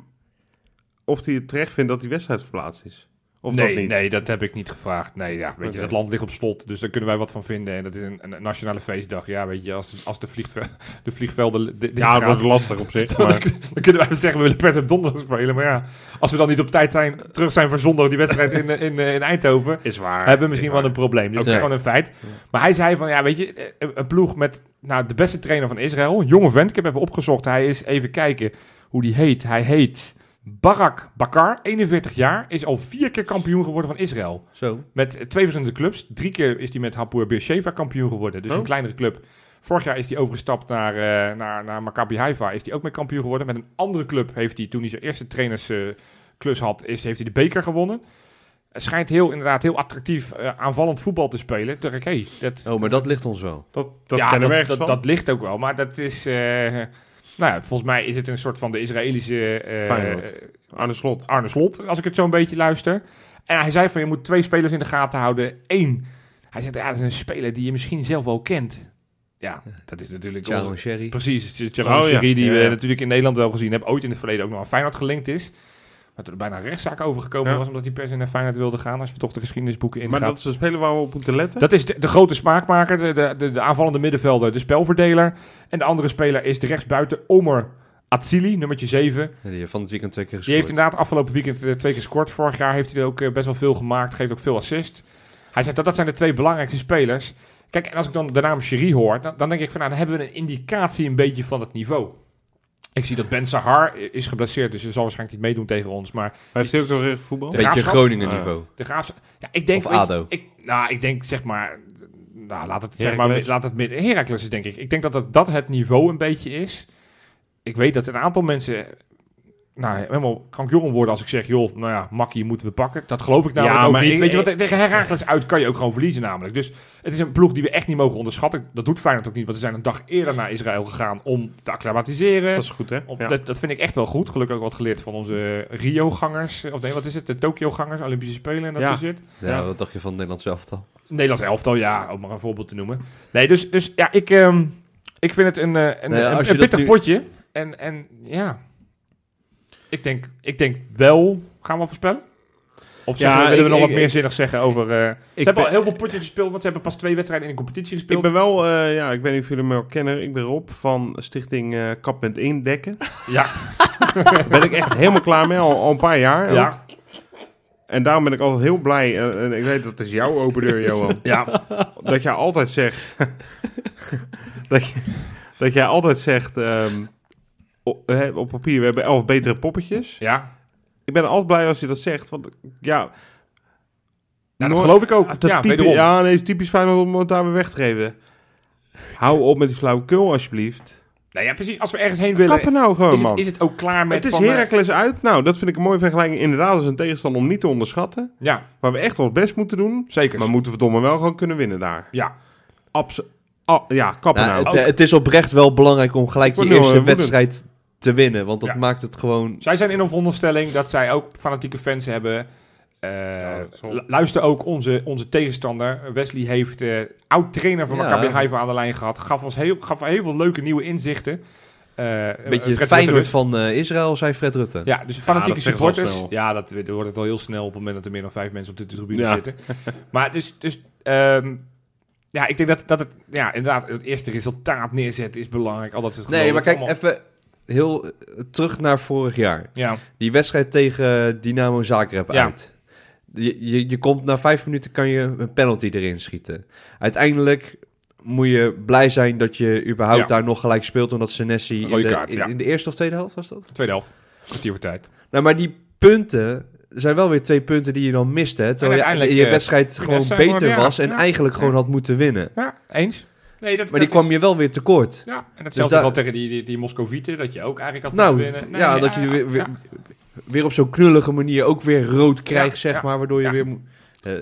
of hij het terecht vindt dat die wedstrijd verplaatst is? Of nee, dat niet? nee, dat heb ik niet gevraagd. Nee, ja, weet je, Oké. dat land ligt op slot, dus daar kunnen wij wat van vinden. En dat is een, een nationale feestdag. Ja, weet je, als, als de, vliegve- de vliegvelden... li- dicht Ja, gaan, dat was lastig op zich, maar... Dan kunnen wij wel zeggen, we willen per se op donderdag spelen. Maar ja, als we dan niet op tijd zijn, terug zijn voor zondag die wedstrijd in, eh, in, eh, in Eindhoven... Is waar. hebben we misschien wel een probleem. Dus dat is Ja. gewoon een feit. Maar hij zei van, ja, weet je, eh, een- een ploeg met nou, de beste trainer van Israël. Een jonge vent, ik heb even opgezocht. Hij is, even kijken hoe die heet. Hij heet Barak Bakar, 41 jaar, is al vier keer kampioen geworden van Israël. Zo. Met twee verschillende clubs. Drie keer is hij met Hapoel Beersheva kampioen geworden. Dus Oh. een kleinere club. Vorig jaar is hij overgestapt naar, eh, naar, naar Maccabi Haifa. Is hij ook mee kampioen geworden. Met een andere club heeft hij, toen hij zijn eerste trainersklus had, is, heeft hij de beker gewonnen. Het schijnt heel, inderdaad heel attractief eh, aanvallend voetbal te spelen. Toen dacht ik, hey, dat, Oh, maar dat ligt ons wel. Dat, dat kennen we dat, ergens dat, van. dat ligt ook wel. Maar dat is... eh, nou ja, volgens mij is het een soort van de Israëlische eh, Feyenoord. Aan de slot. Arne Slot, als ik het zo een beetje luister. En hij zei van, je moet twee spelers in de gaten houden. Eén, hij zegt, ja, dat is een speler die je misschien zelf wel kent. Ja, dat is natuurlijk... Ciao on- en Sherry. Precies, Gerard Oh, ja. die Ja, we ja. natuurlijk in Nederland wel gezien hebben. Ooit in het verleden ook nog aan Feyenoord gelinkt is. Maar toen er bijna een rechtszaak overgekomen Ja. was, omdat hij per se naar Feyenoord wilde gaan. Als we toch de geschiedenisboeken Maar ingaan. dat is een speler waar we op moeten letten. Dat is de, de grote smaakmaker, de, de, de, de aanvallende middenvelder, de spelverdeler. En de andere speler is de rechtsbuiten Omer Atsili, nummertje 7. Ja, die heeft van het weekend twee keer Die heeft gescoord. inderdaad afgelopen weekend eh, twee keer gescoord. Vorig jaar heeft hij er ook eh, best wel veel gemaakt. Geeft ook veel assist. Hij zegt dat dat zijn de twee belangrijkste spelers. Kijk, en als ik dan de naam Cherie hoor, dan, dan denk ik van nou, dan hebben we een indicatie een beetje van het niveau. Ik zie dat Ben Sahar eh, is geblesseerd, dus hij zal waarschijnlijk niet meedoen tegen ons. Maar Hij heeft heel veel recht voetbal. Ja. Beetje Graafschap? Groningen niveau. de Graafs... Ja, ik denk, Of weet je, ADO. Ik, nou, ik denk zeg maar... Nou, laat het, zeg maar, Heracles. laat het midden... Heracles is denk ik. Ik denk dat, dat dat het niveau een beetje is. Ik weet dat een aantal mensen... Nou, helemaal krankjoren worden als ik zeg... joh, nou ja, makkie moeten we pakken. Dat geloof ik namelijk Ja, ook maar niet. ik- weet je, want tegen Heracles uit kan je ook gewoon verliezen namelijk. Dus het is een ploeg die we echt niet mogen onderschatten. Dat doet Feyenoord ook niet, want ze zijn een dag eerder naar Israël gegaan... om te acclimatiseren. Dat is goed, hè? Op- Ja. dat, dat vind ik echt wel goed. Gelukkig ook wat geleerd van onze Rio-gangers. Of nee, wat is het? De Tokio-gangers, Olympische Spelen en dat Ja. soort shit. Ja, Ja. wat dacht je van het Nederlands elftal? Nederlands elftal, ja, om maar een voorbeeld te noemen. Nee, dus, dus ja, ik, ehm, ik vind het een, eh, een, Nou ja, een- als je een dat pittig nu- potje. En, en ja, ik denk, ik denk wel, gaan we voorspellen? Of Ja, zeggen, we- willen we ik- nog wat ik- meer zinnig zeggen over... eh, ze Ik hebben ben- al heel veel potjes gespeeld, want ze hebben pas twee wedstrijden in de competitie Ik gespeeld. ben wel, eh, ja, ik weet niet of jullie me al kennen. Ik ben Rob van Stichting eh, Kap met Indekken. Ja, Daar ben ik echt helemaal klaar mee, al, al een paar jaar. ook. ja, En daarom ben ik altijd heel blij. eh, en ik weet dat is jouw open deur, Johan. ja. dat jij altijd zegt. dat, je, dat jij altijd zegt. ehm, op, hè, op papier, we hebben elf betere poppetjes. ja. Nou, Ik ben altijd blij als je dat zegt. Want ja. Ja, dat Noor- geloof ik ook. Ah, Dat ja, typi- wederom. ja, nee, het is typisch Feyenoord om het daarbij weg te geven. Hou op met die flauwekul, alsjeblieft. Nou ja, precies. Als we ergens heen willen, Kappen nou Oh, gewoon, is, man. het, is het ook klaar met het is van, eh, Heracles uit. Nou, dat vind ik een mooie vergelijking. Inderdaad, is een tegenstander om niet te onderschatten. ja, Waar we echt ons best moeten doen. zeker. Maar moeten we verdomme wel gewoon kunnen winnen daar. ja, Abs ah, ja, kappen Nou, nou. het, het is oprecht wel belangrijk om gelijk Ik je word eerste nu al woedend. wedstrijd te winnen. Want dat Ja. maakt het gewoon... zij zijn in een veronderstelling dat zij ook fanatieke fans hebben. Eh, dat is wel- lu- luister ook onze, onze tegenstander. Wesley heeft eh, oud-trainer van Ja. Maccabi Haifa aan de lijn gehad. Gaf ons heel, gaf heel veel leuke nieuwe inzichten. Eh, Een beetje Fred het Feyenoord Rutte- van eh, Israël, zei Fred Rutte. Ja, dus fanatieke dat zegt wel supporters. snel. Ja, dat, dat wordt het al heel snel op het moment dat er meer dan vijf mensen op de tribune Ja. zitten. Maar dus, dus ehm, ja, ik denk dat, dat het, ja, inderdaad, het eerste resultaat neerzetten is belangrijk. Al dat soort Nee, geloof, maar kijk, allemaal- even heel eh, terug naar vorig jaar. Ja, Die wedstrijd tegen eh, Dynamo Zagreb Ja. uit. Je, je, je komt na vijf minuten kan je een penalty erin schieten. Uiteindelijk moet je blij zijn dat je überhaupt Ja. daar nog gelijk speelt. Omdat Senesi in, Rode de- kaart, in- ja. in de eerste of tweede helft was dat? tweede helft. Kwartier voor tijd. Nou, maar die punten zijn wel weer twee punten die je dan mist, hè? Terwijl je uiteindelijk, in je eh, wedstrijd Vitesse gewoon gewoon, beter ja, was en ja. eigenlijk gewoon had moeten winnen. Ja, eens. Nee, dat, Maar die kwam je wel weer tekort. Ja, en hetzelfde daar- wel tegen die, die, die Moscovieten, dat je ook eigenlijk had Nou, moeten winnen. Nee, ja, nee, dat je ja, weer, weer, ja. weer op zo'n knullige manier ook weer rood krijgt, zeg ja, maar, waardoor je ja. weer moet... Eh,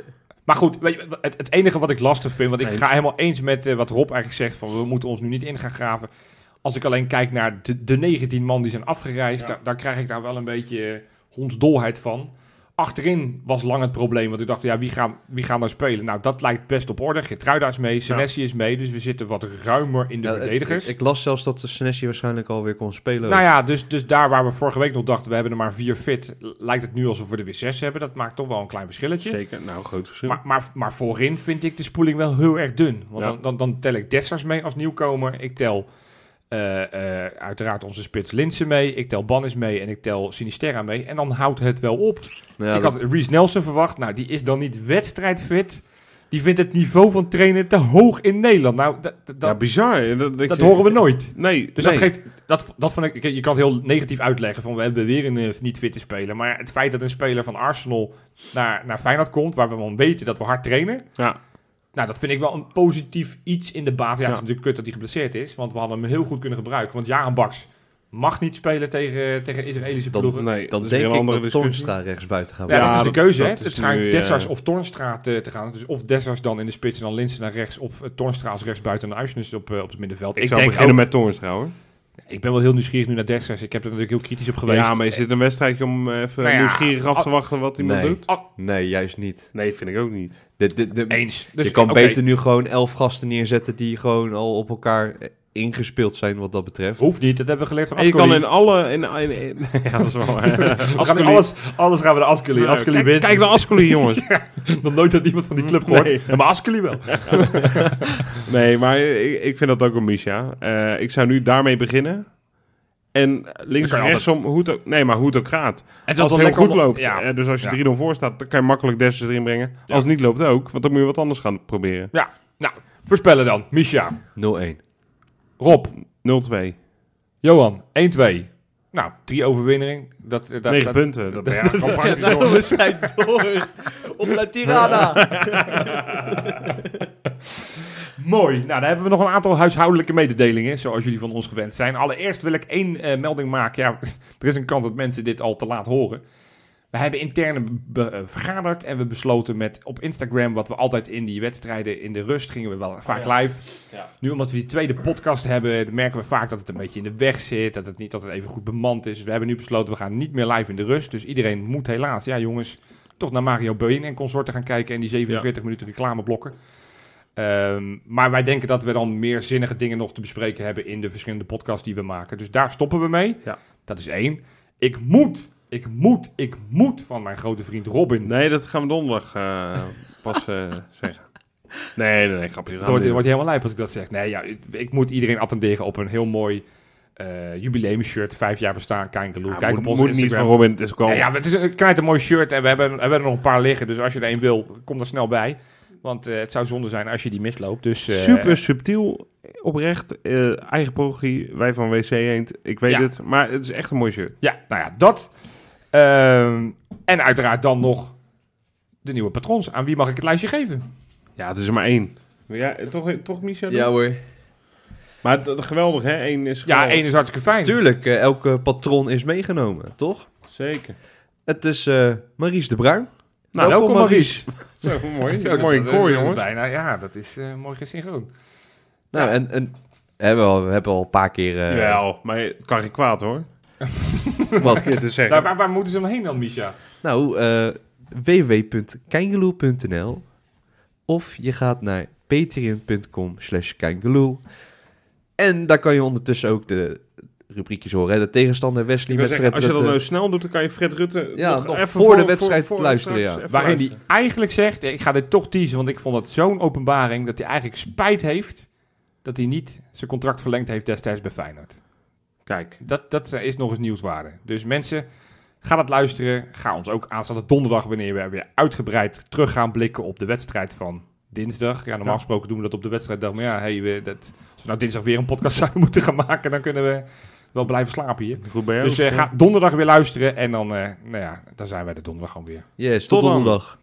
Maar goed, weet je, het, het enige wat ik lastig vind, want ik Eens. ga helemaal eens met eh, wat Rob eigenlijk zegt, van we moeten ons nu niet in gaan graven. Als ik alleen kijk naar de, de 19 man die zijn afgereisd, daar, daar krijg ik daar wel een beetje eh, hondsdolheid van. Achterin was lang het probleem, want ik dacht, ja, wie gaan, wie gaan daar spelen? Nou, dat lijkt best op orde. Gertruida is mee, Senesi is mee, dus we zitten wat ruimer in de Nou. ja, verdedigers. Ik, ik las zelfs dat de Senesi waarschijnlijk alweer kon spelen. Nou ja, dus, dus daar waar we vorige week nog dachten, we hebben er maar vier fit, lijkt het nu alsof we er weer zes hebben. Dat maakt toch wel een klein verschilletje. Zeker, nou, groot verschil. Maar, maar, maar voorin vind ik de spoeling wel heel erg dun. Want Ja. dan, dan, dan tel ik Dessers mee als nieuwkomer. Ik tel eh, eh, uiteraard onze spits Linsen mee. Ik tel Bannis mee en ik tel Sinisterra mee. En dan houdt het wel op. Nou ja, ik dat- had Reese Nelson verwacht. Nou, die is dan niet wedstrijdfit. Die vindt het niveau van trainen te hoog in Nederland. Nou, dat, dat, ja, bizar. Dat, dat horen we nooit. Nee, Dus nee. dat geeft dat, dat vond ik, je kan het heel negatief uitleggen van we hebben weer een eh, niet fitte speler. Maar het feit dat een speler van Arsenal naar, naar Feyenoord komt, waar we van weten dat we hard trainen. Ja, Nou, dat vind ik wel een positief iets in de basis. Ja, Ja. het is natuurlijk kut dat hij geblesseerd is, want we hadden hem heel goed kunnen gebruiken. Want Jaren Baks mag niet spelen tegen, tegen Israëlische Dat- ploegen. nee, Dan dat is weer denk een ik andere dat discussie. Toornstra rechts buiten gaat Ja, nou, Ja, worden. dat is de dat- keuze, hè? dat Het is schijnt nu, Dessers eh, of Tornstra te, te gaan. Dus of Dessers dan in de spits en dan Linsen naar rechts... of eh, Tornstra als rechtsbuiten en Uisnes op, eh, op het middenveld. Ik, Ik, zou denk beginnen ook, met Toornstra hoor. ik ben wel heel nieuwsgierig nu naar Dessers. Ik heb er natuurlijk heel kritisch op geweest. Ja, maar is dit een wedstrijdje om eh, even Nou ja, nieuwsgierig af te al- wachten wat iemand Nee. doet? Nee, juist niet. Nee, vind ik ook niet. De, de, de, Eens. Dus, je kan oké, beter nu gewoon elf gasten neerzetten die gewoon al op elkaar eh, ingespeeld zijn wat dat betreft. Hoeft niet, dat hebben we geleerd van En je Ascoli. kan in alle... In, in, in- ja, dat is wel waar. We gaan nu Ascoli- alles, alles gaan we naar Ascoli. Nou, Ascoli kijk, wint. Kijk naar Ascoli, jongens. Nog nooit had iemand van die club gehoord. Maar Ascoli wel. Nee, maar ik, ik vind dat ook een misja. Eh, ik zou nu daarmee beginnen. En links kan of je rechtsom, hoe het ook, nee, maar hoe het ook gaat. En Als het heel goed loopt, Ja, eh, dus als je Ja. 3-0 voor staat, dan kan je makkelijk Dessers erin brengen. Ja. Als het niet loopt ook, want dan moet je wat anders gaan proberen. ja, nou, voorspellen dan. Misha, 0-1. Rob, 0-2. Johan, 1-2. Nou, drie overwinning. Dat, eh, dat, 9 dat- punten. Dat ben je gewoon praktisch door. We zijn door op La Tirana. Mooi. Nou, dan hebben we nog een aantal huishoudelijke mededelingen, zoals jullie van ons gewend zijn. Allereerst wil ik één eh, melding maken. Ja, er is een kans dat mensen dit al te laat horen. We hebben intern be- eh, vergaderd en we besloten met op Instagram, wat we altijd in die wedstrijden in de rust gingen we wel vaak live. Nu omdat we die tweede podcast hebben, dan merken we vaak dat het een beetje in de weg zit, dat het niet altijd even goed bemand is. Dus we hebben nu besloten, we gaan niet meer live in de rust. Dus iedereen moet helaas, ja jongens, toch naar Mario Been en consorten gaan kijken en die 47 minuten reclameblokken. Ehm, maar wij denken dat we dan meer zinnige dingen nog te bespreken hebben in de verschillende podcasts die we maken. Dus daar stoppen we mee. Ja. Dat is één. Ik moet, ik moet, ik moet van mijn grote vriend Robin. Nee, dat gaan we donderdag eh, pas eh, zeggen. Nee, nee, nee, grapje. Het wordt, het wordt helemaal lijp als ik dat zeg. Nee, ja, ik, ik moet iedereen attenderen op een heel mooi eh jubileum-shirt. Vijf jaar bestaan, Kijn Geloe. Kijk op moet, ons moet niet Instagram. van Robin, het is ook al... Ja, ja, het is een knijtermooi shirt en we hebben, we hebben er nog een paar liggen. Dus als je er een wil, kom er snel bij. Want eh, het zou zonde zijn als je die misloopt. Dus, eh, Super subtiel, oprecht, eh, eigen parochie, wij van WC Eend, ik weet Ja. het, maar het is echt een mooi shirt. Ja, nou ja, dat. Ehm, en uiteraard dan nog de nieuwe patrons. Aan wie mag ik het lijstje geven? Ja, het is er maar één. Ja, eh, toch, toch Michel? Ja hoor. Maar het- het- geweldig hè, Eén is Ja, geweldig. één is hartstikke fijn. Tuurlijk, eh, elke patroon is meegenomen, toch? Zeker. Het is eh Maries de Bruin. Nou, welkom, Maries. Zo, mooi. Zo, mooi dat- in koor, dat- dat- jongens. Bijna, ja, dat is eh, mooi gesynchroon. Nou, en, en hebben we, al, we hebben al een paar keer... eh, Wel, maar het kan geen kwaad hoor. wat- Dit te zeggen. Daar, waar, waar moeten ze omheen dan, Misha? Nou, eh www.keingeloel.nl of je gaat naar patreon.com slash keingeloel. En daar kan je ondertussen ook de rubriekjes horen. hè. De tegenstander Wesley Ik met wil zeggen, Fred als je dat Rutte. nou snel doet, dan kan je Fred Rutte Ja, nog nog even voor de wedstrijd luisteren, straks ja. even Waarin hij luisteren. eigenlijk zegt, ik ga dit toch teasen, want ik vond dat zo'n openbaring, dat hij eigenlijk spijt heeft dat hij niet zijn contract verlengd heeft destijds bij Feyenoord. Kijk, Dat, dat is nog eens nieuwswaarde. Dus mensen, ga dat luisteren. Ga ons ook aanstaande donderdag, wanneer we weer uitgebreid terug gaan blikken op de wedstrijd van dinsdag. Ja, normaal Ja. gesproken doen we dat op de wedstrijddag. Maar ja, hey, we, dat, als we nou dinsdag weer een podcast zouden moeten gaan maken, dan kunnen we wel blijven slapen hier. goed bij jou. eh, Dus eh, ga donderdag weer luisteren en dan, eh, nou ja, dan zijn wij de donderdag gewoon weer. Yes, tot Tot dan. donderdag.